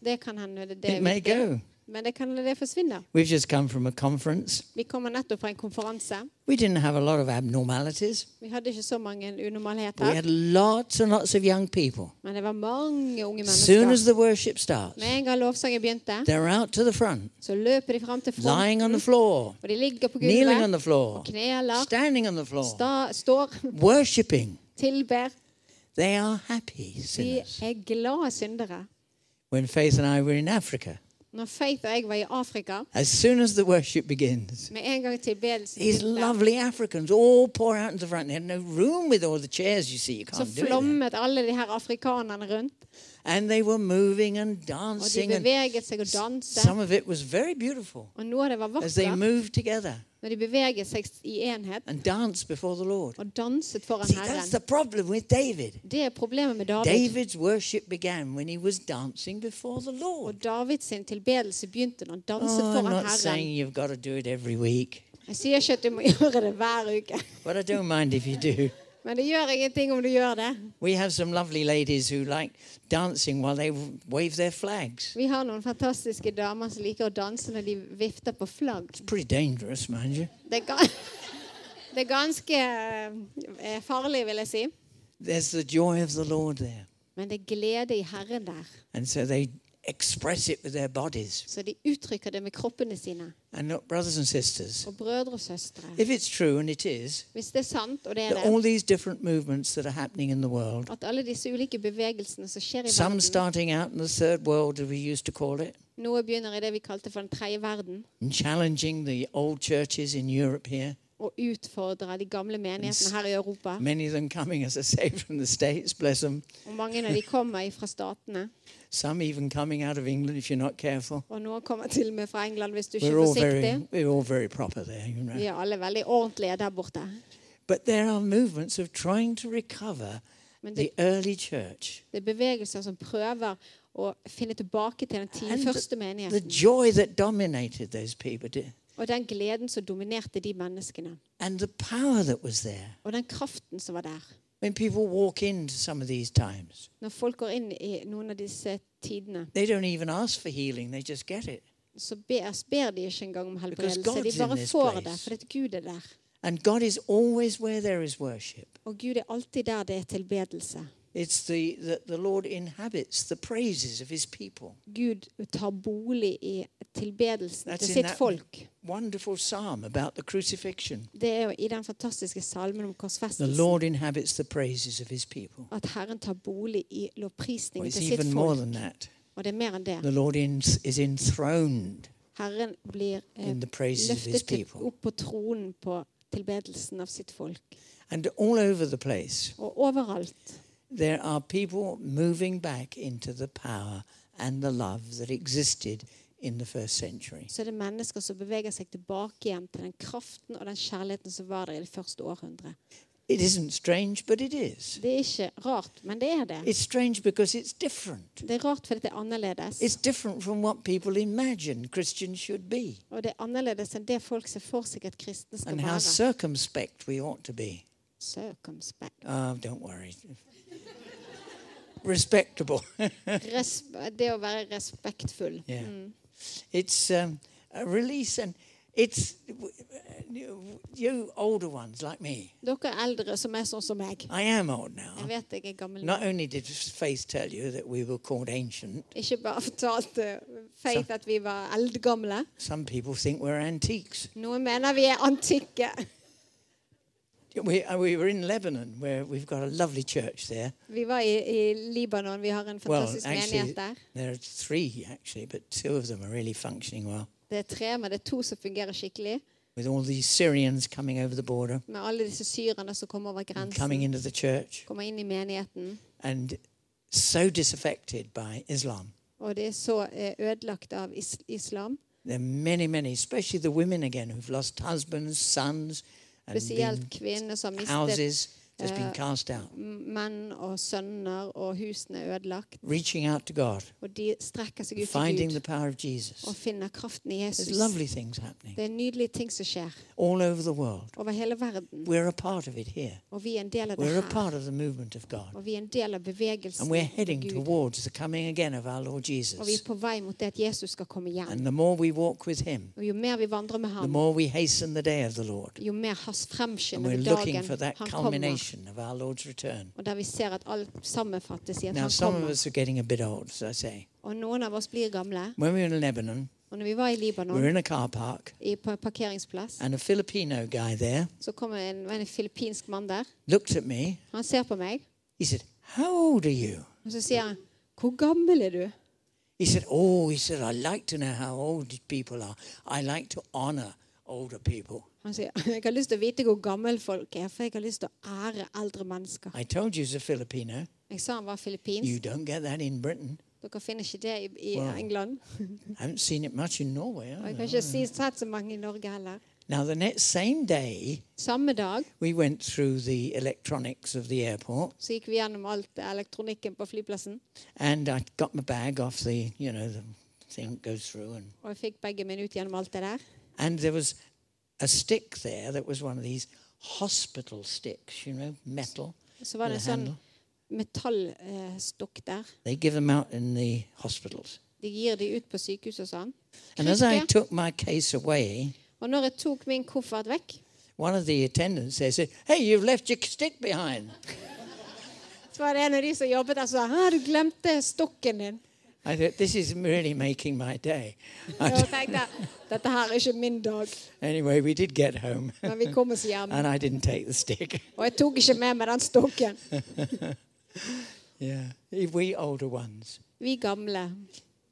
S1: Det kan hende det, det
S2: It
S1: er
S2: may
S1: viktig.
S2: go.
S1: Men det kan hende det forsvinner.
S2: We've just come from a conference.
S1: Vi kommer nettopp fra en konferanse.
S2: We didn't have a lot of abnormalities.
S1: Vi hadde ikke så mange
S2: We
S1: unormalheter.
S2: had lots and lots of young people.
S1: Men det var mange unge
S2: Soon
S1: mennesker.
S2: as the worship starts,
S1: Med en gang lovsangen begynte,
S2: they're out to the front,
S1: så løper de fram til
S2: lying on
S1: fronten.
S2: the floor,
S1: Og de ligger på
S2: kneeling on
S1: gulvet,
S2: the floor,
S1: kneler,
S2: standing on the floor,
S1: sta, står, *laughs*
S2: worshiping.
S1: tilber.
S2: They are happy
S1: De
S2: sinners.
S1: er glade syndere.
S2: When Faith and I were in Africa,
S1: Når Faith og jeg var i Afrika,
S2: as soon as the worship begins,
S1: med en gang tilbedelsen
S2: these
S1: begynte,
S2: lovely Africans all pour out into the front. They had no room with all the chairs, you see, you
S1: så
S2: can't do it.
S1: flommet alle de her afrikanerne rundt.
S2: And they were moving and
S1: Og de
S2: dancing. And
S1: beveget seg og danset.
S2: some of it was very beautiful
S1: Og noe av det var
S2: as they
S1: vakkert
S2: moved together.
S1: når de beveget seg i enhet
S2: and dance before the Lord.
S1: og danset foran
S2: See, that's
S1: Herren.
S2: the problem with David.
S1: Det er problemet med David.
S2: David's worship began when he was dancing before the
S1: Og
S2: Lord.
S1: Davids sin tilbedelse begynte når han danset
S2: Oh, I'm
S1: foran
S2: not
S1: Herren.
S2: saying you've got to do it every week,
S1: Jeg sier ikke at du må *laughs* gjøre det hver uke,
S2: but I don't mind if you do.
S1: men det gjør ingenting om du gjør det.
S2: We have some lovely ladies who like dancing while they wave their flags.
S1: Vi har noen fantastiske damer som liker å danse når de vifter på flagg.
S2: Pretty dangerous, mind you.
S1: Det er, ga *laughs* det er ganske eh, farlig, vil jeg si.
S2: There's the joy of the Lord there.
S1: Men det er glede i Herren der,
S2: And so they express it with their bodies.
S1: så de uttrykker det med kroppene sine.
S2: And look, brothers and sisters,
S1: Og brødre og søstre.
S2: if it's true, and it is,
S1: Hvis det er sant, og det er
S2: that all
S1: det,
S2: these different movements that are happening in the world
S1: at alle disse ulike bevegelsene som skjer i
S2: Some
S1: verden
S2: starting out in the third world, as we used to call it,
S1: Noe begynner i det vi kalte for den tredje verden,
S2: and challenging the old churches in Europe here.
S1: og utfordrer de gamle menighetene her i Europa.
S2: Many of them coming, as I say, *laughs* from the States, bless them.
S1: Og mange av de kommer fra statene.
S2: Some even coming out of England if you're not careful.
S1: Og noen kommer til og med fra England hvis du ikke
S2: We're
S1: er
S2: all
S1: forsiktig.
S2: very, we're all very proper there, you know.
S1: Vi er alle veldig ordentlige der borte.
S2: But there are movements of trying to recover
S1: Men
S2: the
S1: det,
S2: early church
S1: det er bevegelser som prøver å finne tilbake til den ti
S2: And
S1: første
S2: the
S1: menigheten.
S2: joy that dominated those people, di-
S1: Og den gleden som dominerte de menneskene.
S2: and the power that was there.
S1: Og den kraften som var der.
S2: When people walk into some of these times,
S1: Når folk går inn i noen av disse tidene,
S2: they don't even ask for healing; they just get it.
S1: så ber, ber de ikke engang om
S2: Because
S1: helbredelse. De
S2: God's in
S1: bare
S2: this
S1: får
S2: place.
S1: det fordi at Gud er der.
S2: And God is always where there is worship.
S1: Og Gud er alltid der det er tilbedelse.
S2: It's the, the, the Lord inhabits the praises of his people.
S1: Gud tar bolig i tilbedelsen
S2: That's
S1: til
S2: in
S1: sitt
S2: that-
S1: folk.
S2: Wonderful psalm about the crucifixion.
S1: Det er jo i den fantastiske salmen om
S2: The
S1: korsfestelsen.
S2: Lord inhabits the praises of his people.
S1: at Herren tar bolig i
S2: Well,
S1: lovprisningen
S2: it's
S1: til sitt
S2: even more
S1: folk.
S2: than that.
S1: Og det er mer enn det.
S2: The Lord in, is enthroned
S1: Herren blir eh,
S2: in the praises of his
S1: løftet til,
S2: people.
S1: opp på tronen på tilbedelsen av sitt folk.
S2: And all over the place,
S1: Og overalt
S2: there are people moving back into the power and the love that existed in the first century.
S1: så er det mennesker som beveger seg tilbake igjen til den kraften og den kjærligheten som var der i det første århundret.
S2: It isn't strange, but it is.
S1: Det er ikke rart, men det er det.
S2: It's strange because it's different.
S1: Det er rart fordi det er annerledes.
S2: It's different from what people imagine Christians should be
S1: Og det er annerledes enn det folk ser for seg at kristne skal
S2: and how
S1: være.
S2: circumspect we ought to be.
S1: Circumspect.
S2: Oh, don't worry. Respectable. *laughs*
S1: Resp det å være respektfull.
S2: Yeah. It's um, a release, and it's you you older ones like me.
S1: Dere eldre som er sånn som meg.
S2: I am old now.
S1: Jeg vet jeg er gammel. nå.
S2: Not only did Faith tell you that we were called ancient,
S1: Ikke bare fortalte Faith at vi var eldgamle.
S2: some people think we're antiques.
S1: Noen mener vi er antikke.
S2: We, uh, we were in Lebanon, where we've got a lovely church there.
S1: Vi var i, i Libanon. Vi har en
S2: Well,
S1: fantastisk
S2: actually,
S1: menighet der.
S2: there are three, actually, but two of them are really functioning well.
S1: Det er tre, men det er to som fungerer skikkelig.
S2: With all these Syrians coming over the border,
S1: Med alle disse syrerne som kommer over
S2: and
S1: grensen,
S2: coming into the church,
S1: kommer inn i menigheten.
S2: and so disaffected by Islam.
S1: Og det er så eh, ødelagt av is islam.
S2: There are many, many, especially the women again, who've lost husbands, sons, and
S1: Spesielt
S2: been-
S1: kvinner som har mistet
S2: houses that's been cast out.
S1: menn og sønner, og husene er ødelagt.
S2: Reaching out to God,
S1: Og de strekker seg ut til
S2: finding the
S1: Gud
S2: power of Jesus.
S1: og finner kraften i
S2: There's
S1: Jesus.
S2: lovely things happening
S1: Det er nydelige ting som skjer
S2: all over the world.
S1: over hele verden.
S2: We're a part of it here.
S1: Og vi er en del av det
S2: We're a
S1: her.
S2: part of the movement of God.
S1: Og vi er en del av bevegelsen.
S2: And we're heading
S1: til Gud.
S2: towards the coming again of our Lord
S1: Og vi er
S2: Jesus.
S1: på vei mot det at Jesus skal komme hjem.
S2: And the more we walk with Him,
S1: Og jo mer vi vandrer med
S2: the
S1: ham,
S2: more we hasten the day of the Lord.
S1: jo mer has
S2: Um, And we're
S1: fremskynder vi
S2: looking for
S1: dagen
S2: that
S1: han kommer.
S2: culmination of our Lord's return.
S1: Og der vi ser at alt sammenfattes i at
S2: Now,
S1: han
S2: some of
S1: kommer.
S2: us are getting a bit old, as I say.
S1: Og noen av oss blir gamle.
S2: When we were in Lebanon,
S1: Og når vi var i
S2: We
S1: Libanon,
S2: were in a car park,
S1: i, på en parkeringsplass,
S2: and a Filipino guy there
S1: så kom en, en filippinsk mann der.
S2: looked at me.
S1: Han ser på meg,
S2: He said, How old are you?
S1: og så sier han, 'Hvor gammel er du?'
S2: He said, Oh, he said, I like to know how old people are. I like to honor older people.
S1: Han sier, *laughs* 'Jeg har lyst til å vite hvor gammel folk er, for jeg har lyst til å ære eldre mennesker'.
S2: I told you he's a Filipino.
S1: Jeg sa han var
S2: You
S1: filippinsk.
S2: don't get that in Britain.
S1: Dere finner ikke det i, i
S2: Wow.
S1: England.
S2: I haven't seen it much in Norway.
S1: Og jeg
S2: Either.
S1: kan ikke si sett så mange i Norge heller.
S2: Now, the next same day,
S1: Samme dag
S2: we went through the electronics of the airport,
S1: så gikk vi gjennom alt elektronikken på flyplassen,
S2: and I got my bag off the, you know, the thing that goes through, and
S1: og jeg fikk begge mine ut gjennom alt det der.
S2: And there was a stick there that was one of these hospital sticks, you know, metal.
S1: Så var det
S2: With
S1: en
S2: a
S1: sånn
S2: handle.
S1: metallstokk der.
S2: They give them out in the hospitals.
S1: De gir de ut på sykehus og sånn.
S2: And as I
S1: Krykker.
S2: took my case away,
S1: Og når jeg tok min koffert vekk,
S2: one of the attendants there said, Hey, you've left your stick behind.
S1: så var det en av de som jobbet der, som sa 'Å, du glemte stokken din'.
S2: I thought, This is really making my day.
S1: Og
S2: I-
S1: jeg tenkte 'Dette her er ikke min dag',
S2: anyway, we did get home,
S1: men vi kom oss hjem.
S2: and I didn't take the stick. *laughs*
S1: Og jeg tok ikke med meg den stokken.
S2: Yeah. We older ones.
S1: Vi gamle.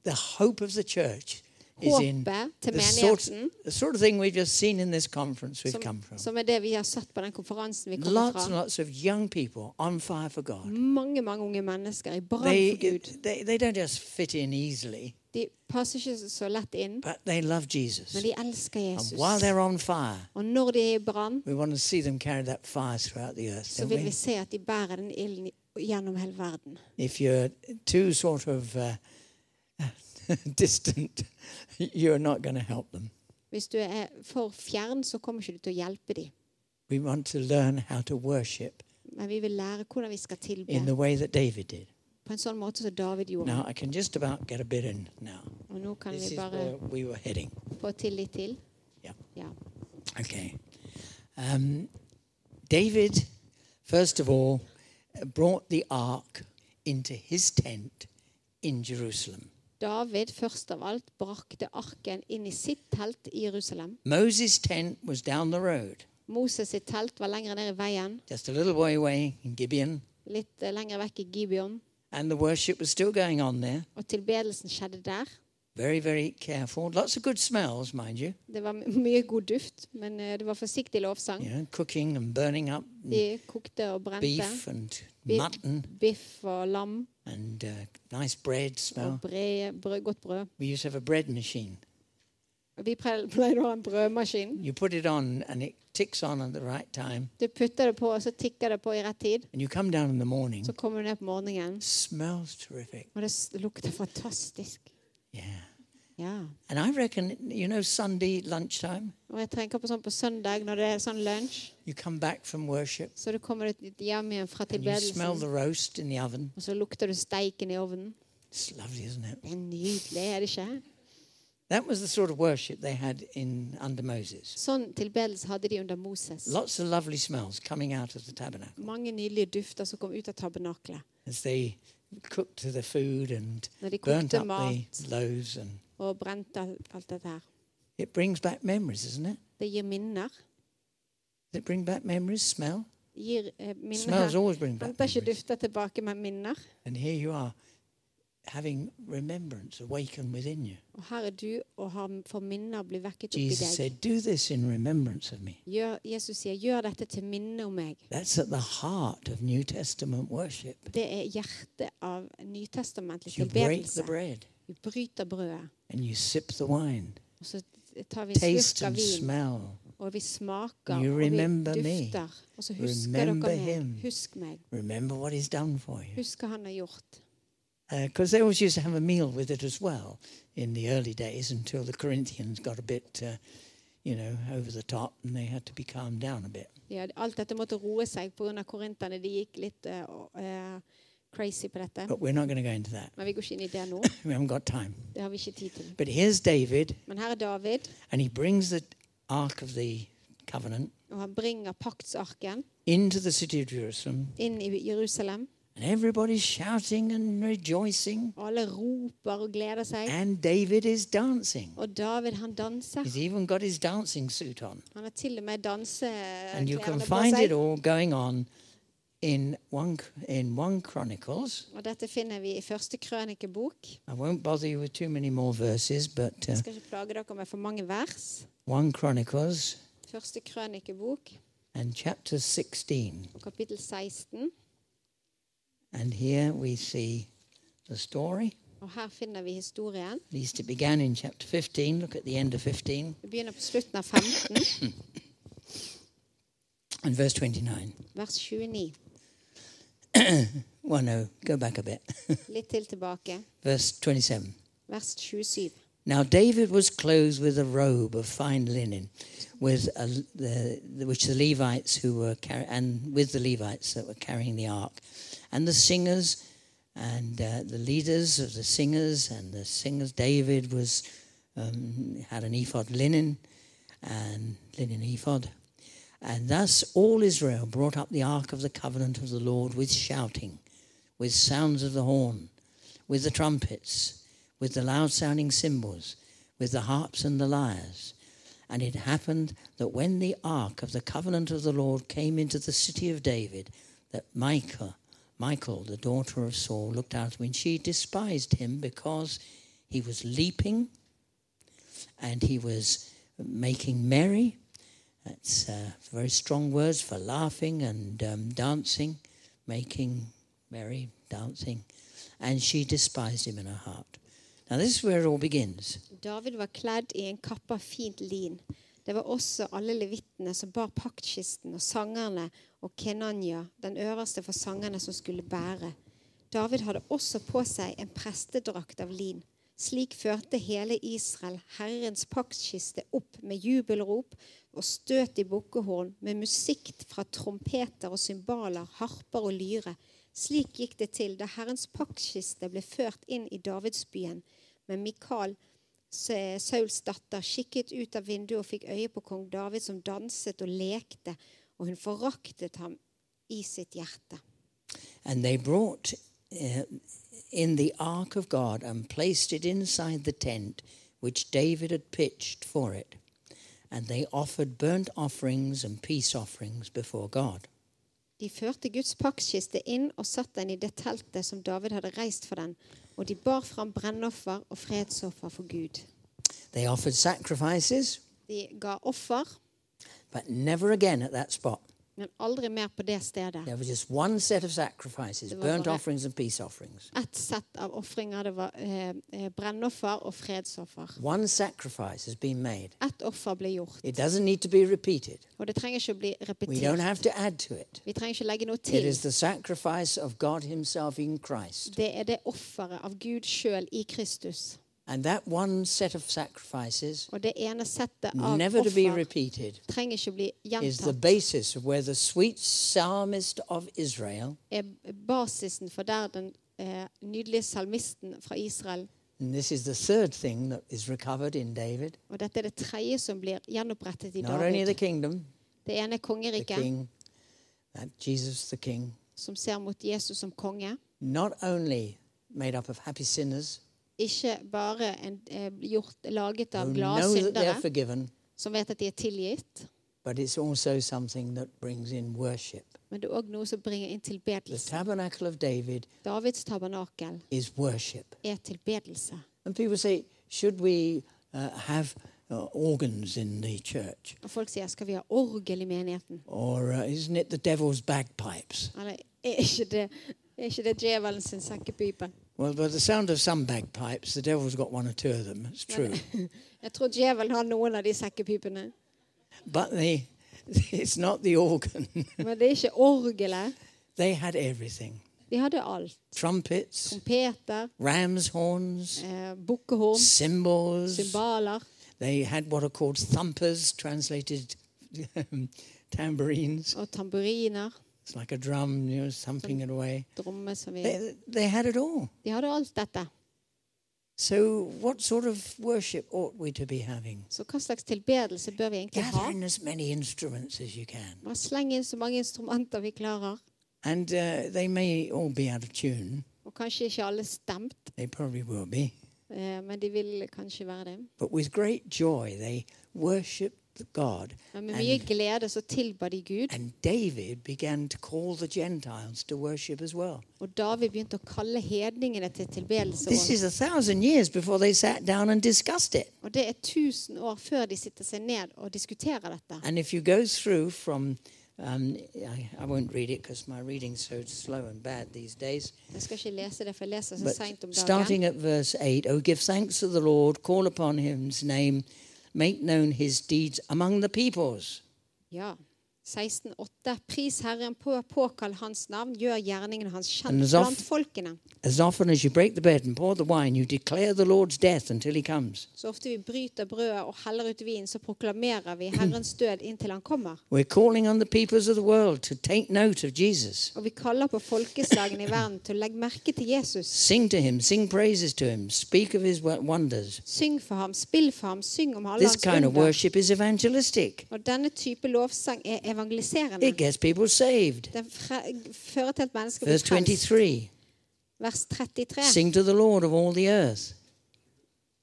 S2: The hope of the church is in
S1: Håpet til
S2: the sort,
S1: menigheten,
S2: the sort of thing we've just seen in this conference we've
S1: som,
S2: come from.
S1: som er det vi har sett på den konferansen vi kommer
S2: lots and
S1: fra.
S2: lots of young people on fire for God.
S1: Mange mange unge mennesker i brann
S2: They,
S1: for Gud.
S2: they, they don't just fit in easily,
S1: De passer ikke så lett inn,
S2: but they love
S1: men
S2: Jesus.
S1: de elsker
S2: And
S1: Jesus.
S2: while they're on fire,
S1: Og når de er i brann,
S2: we want to see them carry that fire throughout the earth.
S1: så
S2: Don't
S1: vil vi
S2: we?
S1: se at de bærer den ilden i- gjennom hele verden.
S2: If you're too sort of uh, *laughs* distant, *laughs* you're not going to help them.
S1: Hvis du er for fjern, så kommer ikke du til å hjelpe dem.
S2: We want to learn how to worship
S1: Men vi vil lære hvordan vi skal tilbe
S2: in the way that David did.
S1: på en sånn måte som David gjorde.
S2: Now, I can just about get a bit in now.
S1: Og nå kan
S2: This
S1: vi
S2: is
S1: bare
S2: where we were heading.
S1: få til litt til.
S2: Ja.
S1: ja.
S2: Okay. Um, David, first of all, brought the ark into his tent in Jerusalem.
S1: David, først av alt, brakte arken inn i sitt telt i Jerusalem.
S2: Moses' tent was down the road,
S1: Moses sitt telt var lenger ned i veien,
S2: just a little way away in Gibeon,
S1: litt eh, lenger vekk i Gibeon.
S2: and the worship was still going on there.
S1: Og tilbedelsen skjedde der.
S2: Very, very careful. Lots of good smells, mind you.
S1: Det var my- mye god duft, men eh, det var forsiktig lovsang.
S2: You know, cooking and burning up
S1: De kokte og brente
S2: beef and
S1: Beef.
S2: mutton
S1: biff og lam
S2: and uh, nice bread
S1: og
S2: smell.
S1: bre, brød, godt brød.
S2: We used to have a bread machine.
S1: Og Vi pre- pleide å ha en brødmaskin.
S2: You put it on and it ticks on at the right time.
S1: Du putter det på, og så tikker det på i rett tid.
S2: And you come down in the morning.
S1: Så kommer du ned på morgenen,
S2: smells terrific.
S1: og det s- lukter fantastisk.
S2: Yeah.
S1: Ja.
S2: And I reckon, you know, Sunday lunchtime,
S1: Og jeg tenker på sånn på søndag, når det er sånn lunsj,
S2: you come back from worship
S1: så du kommer du hjem igjen fra
S2: and you
S1: tilbedelsen,
S2: smell the roast in the oven.
S1: og så lukter du steiken i ovnen.
S2: It's lovely, isn't it?
S1: Det er nydelig, er det ikke?
S2: That was the sort of worship they had in under Moses.
S1: Sånn tilbedelse hadde de under Moses.
S2: Lots of lovely smells coming out of the tabernacle
S1: Mange nydelige dufter som kom ut av tabernaklet.
S2: as they cooked the food and
S1: Når de
S2: burnt
S1: kokte
S2: up the
S1: mat
S2: loaves and
S1: og brente alt, alt dette her.
S2: it brings back memories, isn't it?
S1: Det gir minner.
S2: Does it bring back memories? Smell?
S1: Det gir eh, minner
S2: Smells
S1: her.
S2: always bring back
S1: Henter ikke
S2: memories.
S1: dufter tilbake, men minner.
S2: And here you are having remembrance awaken within you.
S1: Og her er du og har for minner blir vekket opp i
S2: Jesus
S1: deg.
S2: said, Do this in remembrance of me.
S1: Gjør, Jesus sier, gjør dette til minne om meg.
S2: That's at the heart of New Testament worship.
S1: Det er hjertet av nytestamentlig
S2: You break the
S1: tilbedelse.
S2: bread
S1: Vi bryter brødet,
S2: and you sip the wine,
S1: og så tar vi en
S2: taste
S1: slurk av
S2: and
S1: vin,
S2: smell.
S1: og vi smaker,
S2: You
S1: og vi
S2: remember me.
S1: dufter. Og så husker dere
S2: Remember him.
S1: meg. Husk meg.
S2: Remember what he's done for you.
S1: Husk hva han har gjort.
S2: Because they always used to have a meal with it as well in the early days until the Corinthians got a bit, uh, you know, over the top and they had to be calmed down a bit.
S1: Ja, alt dette måtte roe seg pga. korinterne. De gikk litt eh, og, eh, crazy på dette.
S2: But we're not going to go into that.
S1: Men vi går ikke inn i det nå.
S2: We haven't got time.
S1: Det har vi ikke tid til.
S2: But here's David
S1: Men her er David,
S2: and he brings the Ark of the Covenant
S1: og han bringer paktsarken
S2: into the city of Jerusalem
S1: inn i Jerusalem.
S2: And everybody's shouting and rejoicing.
S1: Og alle roper og gleder seg.
S2: And David is dancing.
S1: Og David, han danser.
S2: He's even got his dancing suit on.
S1: Han har til og med
S2: And you
S1: danseklærne
S2: can
S1: på
S2: find it
S1: seg.
S2: all going on in one in one Chronicles.
S1: Og dette finner vi i første krønikebok.
S2: I won't bother you with too many more verses, but uh,
S1: Jeg skal ikke plage dere med for mange vers.
S2: one Chronicles
S1: Første krønikebok,
S2: and chapter 16.
S1: og kapittel 16.
S2: And here we see the story.
S1: Og her finner vi historien.
S2: At least it began in chapter 15. Look at the end of 15
S1: Vi begynner på slutten av 15,
S2: and verse 29.
S1: vers 29.
S2: Well, no, go back a bit. *laughs*
S1: Litt til tilbake.
S2: verse 27.
S1: Vers 27.
S2: Now David was clothed with a robe of fine linen, with a, the, which the Levites who were carry, and with the Levites that were carrying the ark, and the singers, and uh, the leaders of the singers and the singers. David was um, had an ephod linen, and linen ephod, and thus all Israel brought up the ark of the covenant of the Lord with shouting, with sounds of the horn, with the trumpets, with the loud sounding cymbals, with the harps and the lyres. And it happened that when the ark of the covenant of the Lord came into the city of David, that Micah, Michael, the daughter of Saul, looked out when she despised him because he was leaping and he was making merry. That's uh, very strong words for laughing and um, dancing, making merry, dancing. And she despised him in her heart. Now, this is where it all begins.
S1: David var kledd i en kappe av fint lin. Det var også alle levittene som bar paktkisten, og sangerne og Kenanya, den øverste for sangerne som skulle bære. David hadde også på seg en prestedrakt av lin. Slik førte hele Israel Herrens paktkiste opp med jubelrop og støt i bukkehorn, med musikk fra trompeter og cymbaler, harper og lyre. Slik gikk det til da Herrens paktkiste ble ført inn i Davidsbyen. Men Mikael, Sa- Sauls datter, kikket ut av vinduet og fikk øye på kong David som danset og lekte, og hun foraktet ham i sitt hjerte.
S2: And they brought uh, in the ark of God and placed it inside the tent which David had pitched for it. And they offered burnt offerings and peace offerings before God.
S1: De førte Guds pakkskiste inn og satte den i det teltet som David hadde reist for den, Og de bar fram brennoffer og fredsoffer for Gud.
S2: They offered sacrifices,
S1: De ga offer,
S2: but never again at that spot.
S1: men aldri mer på det stedet.
S2: There was just one set of sacrifices
S1: Det var
S2: burnt
S1: bare-
S2: offerings and peace offerings.
S1: Ett sett av ofringer det var eh, eh, brennoffer og fredsoffer.
S2: One sacrifice has been made.
S1: Ett offer ble gjort,
S2: It doesn't need to be repeated.
S1: og det trenger ikke å bli
S2: We don't
S1: repetert.
S2: have to add to it.
S1: Vi trenger ikke legge noe
S2: It
S1: til.
S2: is the sacrifice of God Himself in Christ.
S1: Det er det offeret av Gud sjøl i Kristus.
S2: And that one set of sacrifices,
S1: Og det ene settet av
S2: never to be
S1: offer
S2: repeated,
S1: trenger ikke å bli
S2: is the
S1: gjentatt.
S2: basis of where the sweet psalmist of Israel,
S1: Er basisen for der den eh, nydelige salmisten fra Israel
S2: and this is the third thing that is recovered in David,
S1: Og dette er det tredje som blir gjenopprettet i
S2: not only the
S1: David.
S2: kingdom,
S1: Det ene er
S2: the
S1: kongeriket,
S2: king, that Jesus the king,
S1: som ser mot Jesus som konge.
S2: not only made up of happy sinners
S1: Ikke bare en, eh, gjort, laget av
S2: who
S1: glade
S2: know that they're
S1: syndere
S2: forgiven,
S1: som vet at de er tilgitt,
S2: but it's also something that brings in worship.
S1: men det er òg noe som bringer inn
S2: The
S1: tilbedelse.
S2: tabernacle of David
S1: Davids tabernakel
S2: is worship.
S1: er tilbedelse.
S2: And people say, should we uh, have uh, organs in the church?
S1: Og folk sier skal vi ha orgel i menigheten?
S2: Or uh, isn't it the devil's bagpipes?
S1: Eller er ikke det, er ikke det djevelen sin sekkepipe?
S2: Well, by the sound of some bagpipes, the devil's got one or two of them, it's true.
S1: Jeg tror djevelen har noen av de sekkepipene.
S2: but the, *laughs* it's not the organ. *laughs*
S1: Men det er ikke orgelet.
S2: they had everything
S1: De hadde alt.
S2: trumpets,
S1: Trompeter,
S2: ram's horns,
S1: eh, bukkehorn.
S2: cymbals.
S1: Symboler.
S2: They had what are called thumpers, translated *laughs* tambourines.
S1: og tamburiner.
S2: It's like a drum, you know, thumping it away.
S1: Drommer som vi
S2: They, they had it all.
S1: De hadde alt dette.
S2: So, what sort of worship ought we to be having?
S1: Så hva slags tilbedelse bør vi egentlig ha?
S2: Gather in as many instruments as you can.
S1: Bare sleng inn så mange instrumenter vi klarer.
S2: And uh, they may all be out of tune.
S1: Og kanskje ikke alle stemt,
S2: They probably will be.
S1: eh, men de vil kanskje være det.
S2: But with great joy, they worshipped God.
S1: Men med mye
S2: And-
S1: glede så tilba de Gud,
S2: And David began to call the Gentiles to worship as well.
S1: og David begynte å kalle hedningene til tilbedelse.
S2: This
S1: også.
S2: is a thousand years before they sat down and discussed it.
S1: Og det er 1000 år før de sitter seg ned og diskuterer dette.
S2: And if you go through from, um, I, I won't read it because my reading's so slow and bad these days.
S1: Jeg skal ikke lese det, for jeg leser så
S2: But
S1: seint om dagen.
S2: starting at verse 8, oh, give thanks to the Lord, call upon his name, make known his deeds among the peoples.
S1: Ja. 16,8. Pris Herren på, påkall Hans navn, gjør gjerningen hans
S2: And
S1: kjent
S2: as of-
S1: blant folkene.
S2: As often as you break the bread and pour the wine, you declare the Lord's death until he comes.
S1: Så ofte vi bryter brødet og heller ut vin, så proklamerer vi
S2: *clears throat*
S1: Herrens død inntil han kommer.
S2: We're calling on the peoples of the world to take note of Jesus.
S1: Og vi kaller på folkeslagene i verden til å legge merke til Jesus.
S2: Sing to him, sing praises to him, speak of his wo- wonders.
S1: Syng for ham, spill for ham, syng om alle
S2: This
S1: hans
S2: kind of
S1: under.
S2: worship is evangelistic.
S1: Og denne type lovsang er evangeliserende.
S2: It gets people saved.
S1: Den fre fører til at mennesker blir
S2: Verse
S1: frelst.
S2: 23
S1: Vers 33.
S2: Sing to the Lord of all the earth.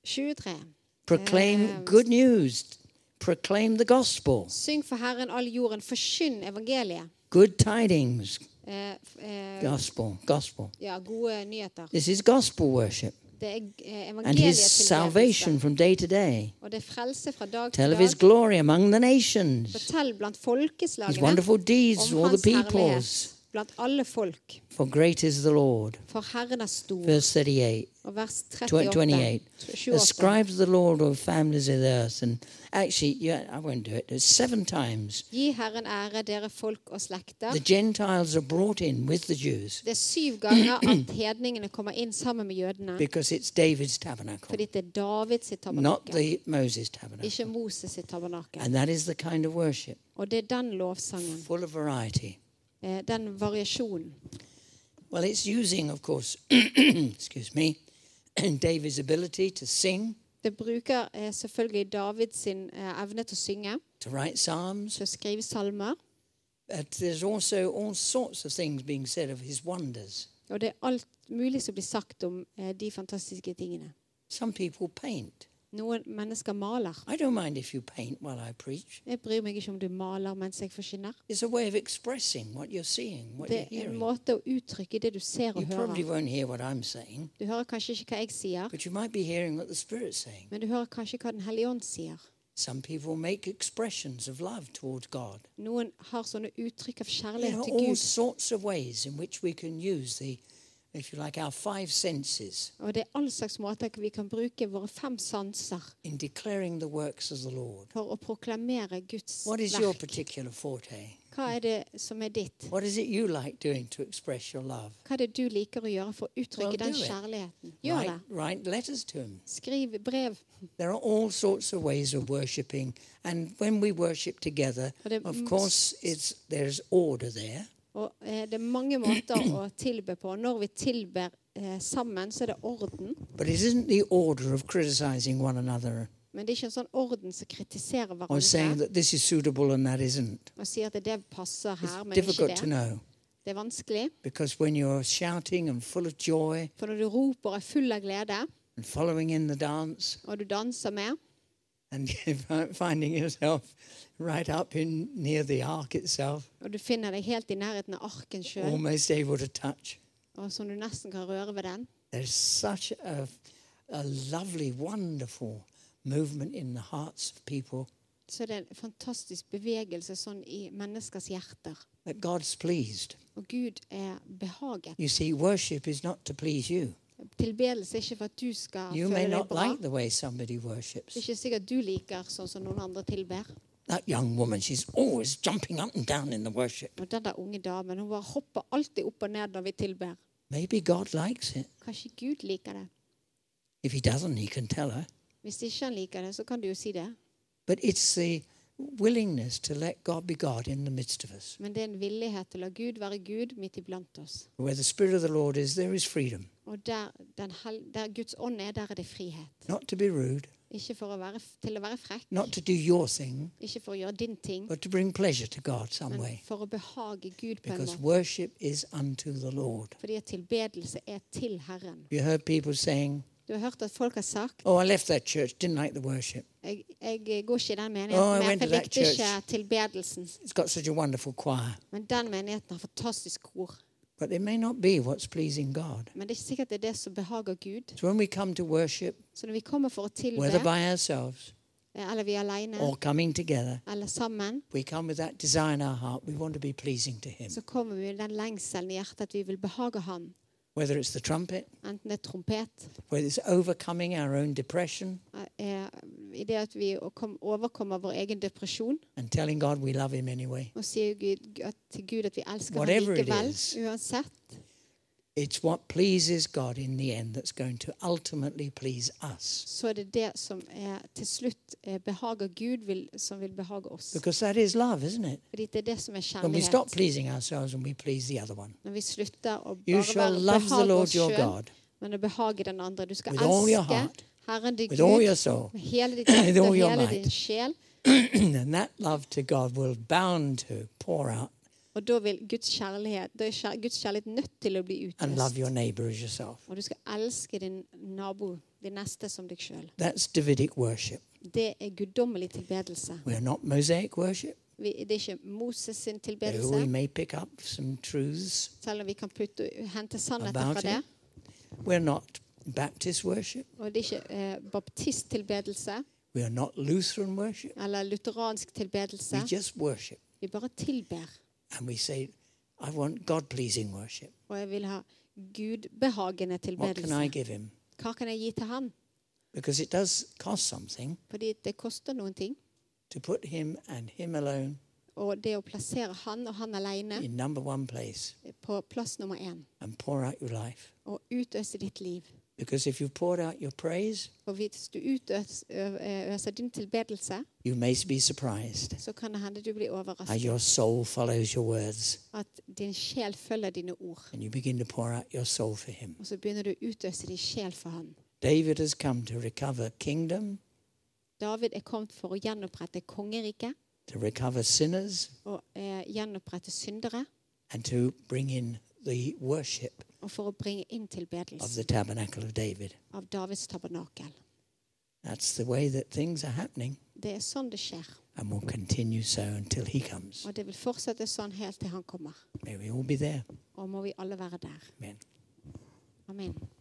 S1: 23.
S2: Proclaim
S1: Um,
S2: good news. Proclaim the gospel.
S1: Syng for Herren all jorden, forkynn evangeliet.
S2: Good tidings.
S1: Eh, f- eh,
S2: Gospel. Gospel.
S1: ja, gode nyheter.
S2: This is gospel worship.
S1: Det er eh,
S2: And his
S1: evangeliet til
S2: salvation
S1: ledelse.
S2: from day to day.
S1: Og det er frelse fra dag til
S2: Tell of his
S1: dag.
S2: glory among the nations.
S1: Fortell blant
S2: His
S1: folkeslagene
S2: wonderful deeds to
S1: om
S2: all the
S1: hans
S2: peoples.
S1: herlighet blant alle folk.
S2: For great is the Lord.
S1: For Herren er stor.
S2: Verse 38.
S1: Og vers 38.
S2: 28.
S1: 28.
S2: Ascribe to the Lord of families of the earth. And actually, yeah, I won't do it. It's seven times.
S1: Gi Herren ære, dere folk og slekter.
S2: The Gentiles are brought in with the Jews
S1: Det er syv ganger at hedningene kommer inn sammen med jødene.
S2: because it's David's tabernacle.
S1: Fordi det er Davids sitt
S2: not
S1: tabernakel,
S2: the Moses tabernacle.
S1: ikke Moses sitt tabernakel.
S2: And that is the kind of worship,
S1: Og det er den lovsangen,
S2: full of variety.
S1: eh, den variasjonen.
S2: Well, it's using, of course, *clears throat* excuse me, *clears throat* David's ability to sing,
S1: Det bruker eh, selvfølgelig Davids sin eh, evne til å synge,
S2: to write psalms,
S1: til å skrive salmer.
S2: but there's also all sorts of things being said of his wonders.
S1: Og det er alt mulig som blir sagt om eh, de fantastiske tingene.
S2: Some people paint.
S1: Noen mennesker maler.
S2: I don't mind if you paint while I preach.
S1: Jeg bryr meg ikke om du maler mens jeg forkynner.
S2: It's a way of expressing what you're seeing, what
S1: Det
S2: you're
S1: er en
S2: hearing.
S1: måte å uttrykke det du ser
S2: You
S1: og
S2: probably
S1: hører.
S2: won't hear what I'm saying,
S1: Du hører kanskje ikke hva jeg sier,
S2: but you might be hearing what the Spirit's saying.
S1: men du hører kanskje hva Den hellige ånd sier.
S2: Some people make expressions of love towards God.
S1: Noen har sånne uttrykk av
S2: There
S1: kjærlighet
S2: are
S1: til
S2: all
S1: Gud.
S2: sorts of ways in which we can use the, if you like, our five senses
S1: Og det er all slags måter vi kan bruke våre fem sanser
S2: in declaring the works of the Lord.
S1: for å proklamere Guds
S2: What is your
S1: verk.
S2: particular forte?
S1: Hva er det som er ditt?
S2: What is it you like doing to express your love?
S1: Hva er det du liker å gjøre for å
S2: Well,
S1: uttrykke den
S2: do it.
S1: kjærligheten? Gjør
S2: write,
S1: det.
S2: write letters to him.
S1: Skriv brev.
S2: There are all sorts of ways of worshipping, and when we worship together,
S1: Og det er
S2: of
S1: m-
S2: course, it's there's order there.
S1: Og eh, det er mange
S2: *clears throat*
S1: måter å tilbe på. Når vi tilber eh, sammen, så er det orden.
S2: But it isn't the order of criticizing one another
S1: Men det er ikke en sånn orden som kritiserer
S2: or saying
S1: hverandre
S2: that this is suitable and that isn't.
S1: og sier at det passer
S2: It's
S1: her, men ikke
S2: difficult to
S1: det.
S2: know
S1: Det er vanskelig.
S2: because when you're shouting and full of joy
S1: For når du roper og er full av glede,
S2: and following in the dance
S1: og du danser med,
S2: and *laughs* finding yourself right up in near the ark itself,
S1: og du finner deg helt i nærheten av arken sjøl,
S2: almost able to touch,
S1: og som du nesten kan røre ved den,
S2: there's such a, a lovely, wonderful movement in the hearts of people
S1: så er det en fantastisk bevegelse sånn i menneskers hjerter.
S2: that God's pleased.
S1: Og Gud er behaget.
S2: You see, worship is not to please you.
S1: Tilbedelse er ikke for at du skal
S2: You may
S1: føle deg
S2: not
S1: bra.
S2: like the way somebody
S1: Det er
S2: worships.
S1: ikke sikkert du liker sånn som noen andre tilber.
S2: That young woman, she's always jumping up and down in the worship.
S1: Og den der unge damen hun bare hopper alltid opp og ned når vi tilber.
S2: Maybe God likes it.
S1: Kanskje Gud liker det.
S2: If He doesn't, He can tell her.
S1: Hvis ikke han liker det, så kan du jo si det.
S2: But it's the willingness to let God be God in the midst of us.
S1: Men det er en villighet til å la Gud være Gud midt iblant oss.
S2: Where the Spirit of the Lord is, there is freedom.
S1: Og der, den hel, der Guds ånd er, der er det frihet.
S2: Not to be rude,
S1: Ikke for å være, f- til å være frekk,
S2: not to do your thing,
S1: ikke for å gjøre din ting,
S2: but to bring pleasure to God some
S1: men
S2: way.
S1: for å behage Gud på en
S2: Because
S1: måte.
S2: worship is unto the Lord.
S1: Fordi at tilbedelse er til Herren.
S2: You heard people saying,
S1: Du har hørt at folk har sagt
S2: Oh, I left that church, didn't like the worship.
S1: jeg, jeg går ikke i den
S2: Oh, I
S1: menigheten,
S2: went
S1: men
S2: to
S1: jeg
S2: that
S1: likte ikke
S2: church.
S1: tilbedelsen.
S2: It's got such a wonderful choir.
S1: Men den menigheten har fantastisk kor.
S2: But it may not be what's pleasing God.
S1: Men det er ikke sikkert det er det som behager Gud.
S2: So when we come to worship,
S1: Så når vi kommer for å tilbe, eh,
S2: whether by ourselves
S1: eller vi er alene,
S2: or coming together,
S1: eller sammen,
S2: we come with that desire in our heart. We want to be pleasing to Him.
S1: så kommer vi med den lengselen i hjertet at vi vil behage ham.
S2: Whether it's the trumpet,
S1: Enten det er trompet,
S2: whether it's overcoming our own depression
S1: eh, i det at vi å kom- overkommer vår egen depresjon
S2: and telling God we love Him anyway.
S1: og sier Gud, at- til Gud at vi elsker ham
S2: Whatever it
S1: likevel,
S2: is.
S1: uansett.
S2: It's what pleases God in the end that's going to ultimately please us.
S1: Så er det det som er, til slutt eh, behager Gud, vil, som vil behage oss.
S2: Because that is love, isn't it?
S1: Fordi det er det som er
S2: When we stop
S1: kjærlighet.
S2: pleasing ourselves and we please the other one.
S1: Når vi slutter å
S2: You
S1: bare
S2: shall
S1: være
S2: love the
S1: behage
S2: Lord
S1: oss
S2: your
S1: sjøl,
S2: God
S1: men å behage den andre. Du skal
S2: with all your
S1: elske
S2: heart,
S1: Herren din
S2: with all
S1: Gud
S2: your soul. *clears throat*
S1: med hele ditt
S2: with
S1: hjerte,
S2: all your
S1: hele
S2: might.
S1: din sjel.
S2: and that love to God will bound to pour out
S1: Og da vil Guds kjærlighet da er kjær- Guds kjærlighet nødt til å bli
S2: and love
S1: utløst.
S2: your neighbor as yourself.
S1: Og du skal elske din nabo, din neste, som deg sjøl.
S2: That's Davidic worship.
S1: Det er guddommelig tilbedelse.
S2: We're not Mosaic worship,
S1: Vi, det er ikke Moses sin
S2: though we
S1: tilbedelse,
S2: may pick up some truths
S1: selv om vi kan putte, hente sannheter
S2: about
S1: fra det.
S2: it. We're not Baptist worship.
S1: Og det er ikke eh, baptisttilbedelse
S2: We are not Lutheran worship.
S1: eller lutheransk tilbedelse.
S2: We just worship.
S1: Vi bare tilber.
S2: And we say, I want God pleasing worship.
S1: Og jeg vil ha gudbehagende
S2: What can I
S1: tilbedelse.
S2: give him?
S1: Hva kan jeg gi til han?
S2: Because it does cost something
S1: Fordi det koster noen ting.
S2: to put him and him alone
S1: Og det å plassere han og han alene
S2: in number one place
S1: på plass nummer én.
S2: and pour out your life.
S1: Og utøse ditt liv.
S2: Because if you've poured out your praise,
S1: Og hvis du utøser din tilbedelse,
S2: you may be surprised
S1: så kan det hende du blir
S2: how
S1: overrasket.
S2: your soul follows your words
S1: At din sjel følger dine ord.
S2: and you begin to pour out your soul for him.
S1: Og så begynner du å utøse din sjel for han.
S2: David has come to recover kingdom,
S1: David er kommet for å gjenopprette kongeriket.
S2: to recover sinners,
S1: Og eh, gjenopprette syndere.
S2: and to bring in the worship
S1: Og for å bringe inn
S2: of
S1: tilbedelse
S2: the tabernacle of David.
S1: av Davids tabernakel.
S2: That's the way that things are happening
S1: Det er sånn det skjer.
S2: and will continue so until he comes.
S1: Og det vil fortsette sånn helt til han kommer.
S2: May we all be there.
S1: Og må vi alle være der.
S2: Amen.
S1: Amen.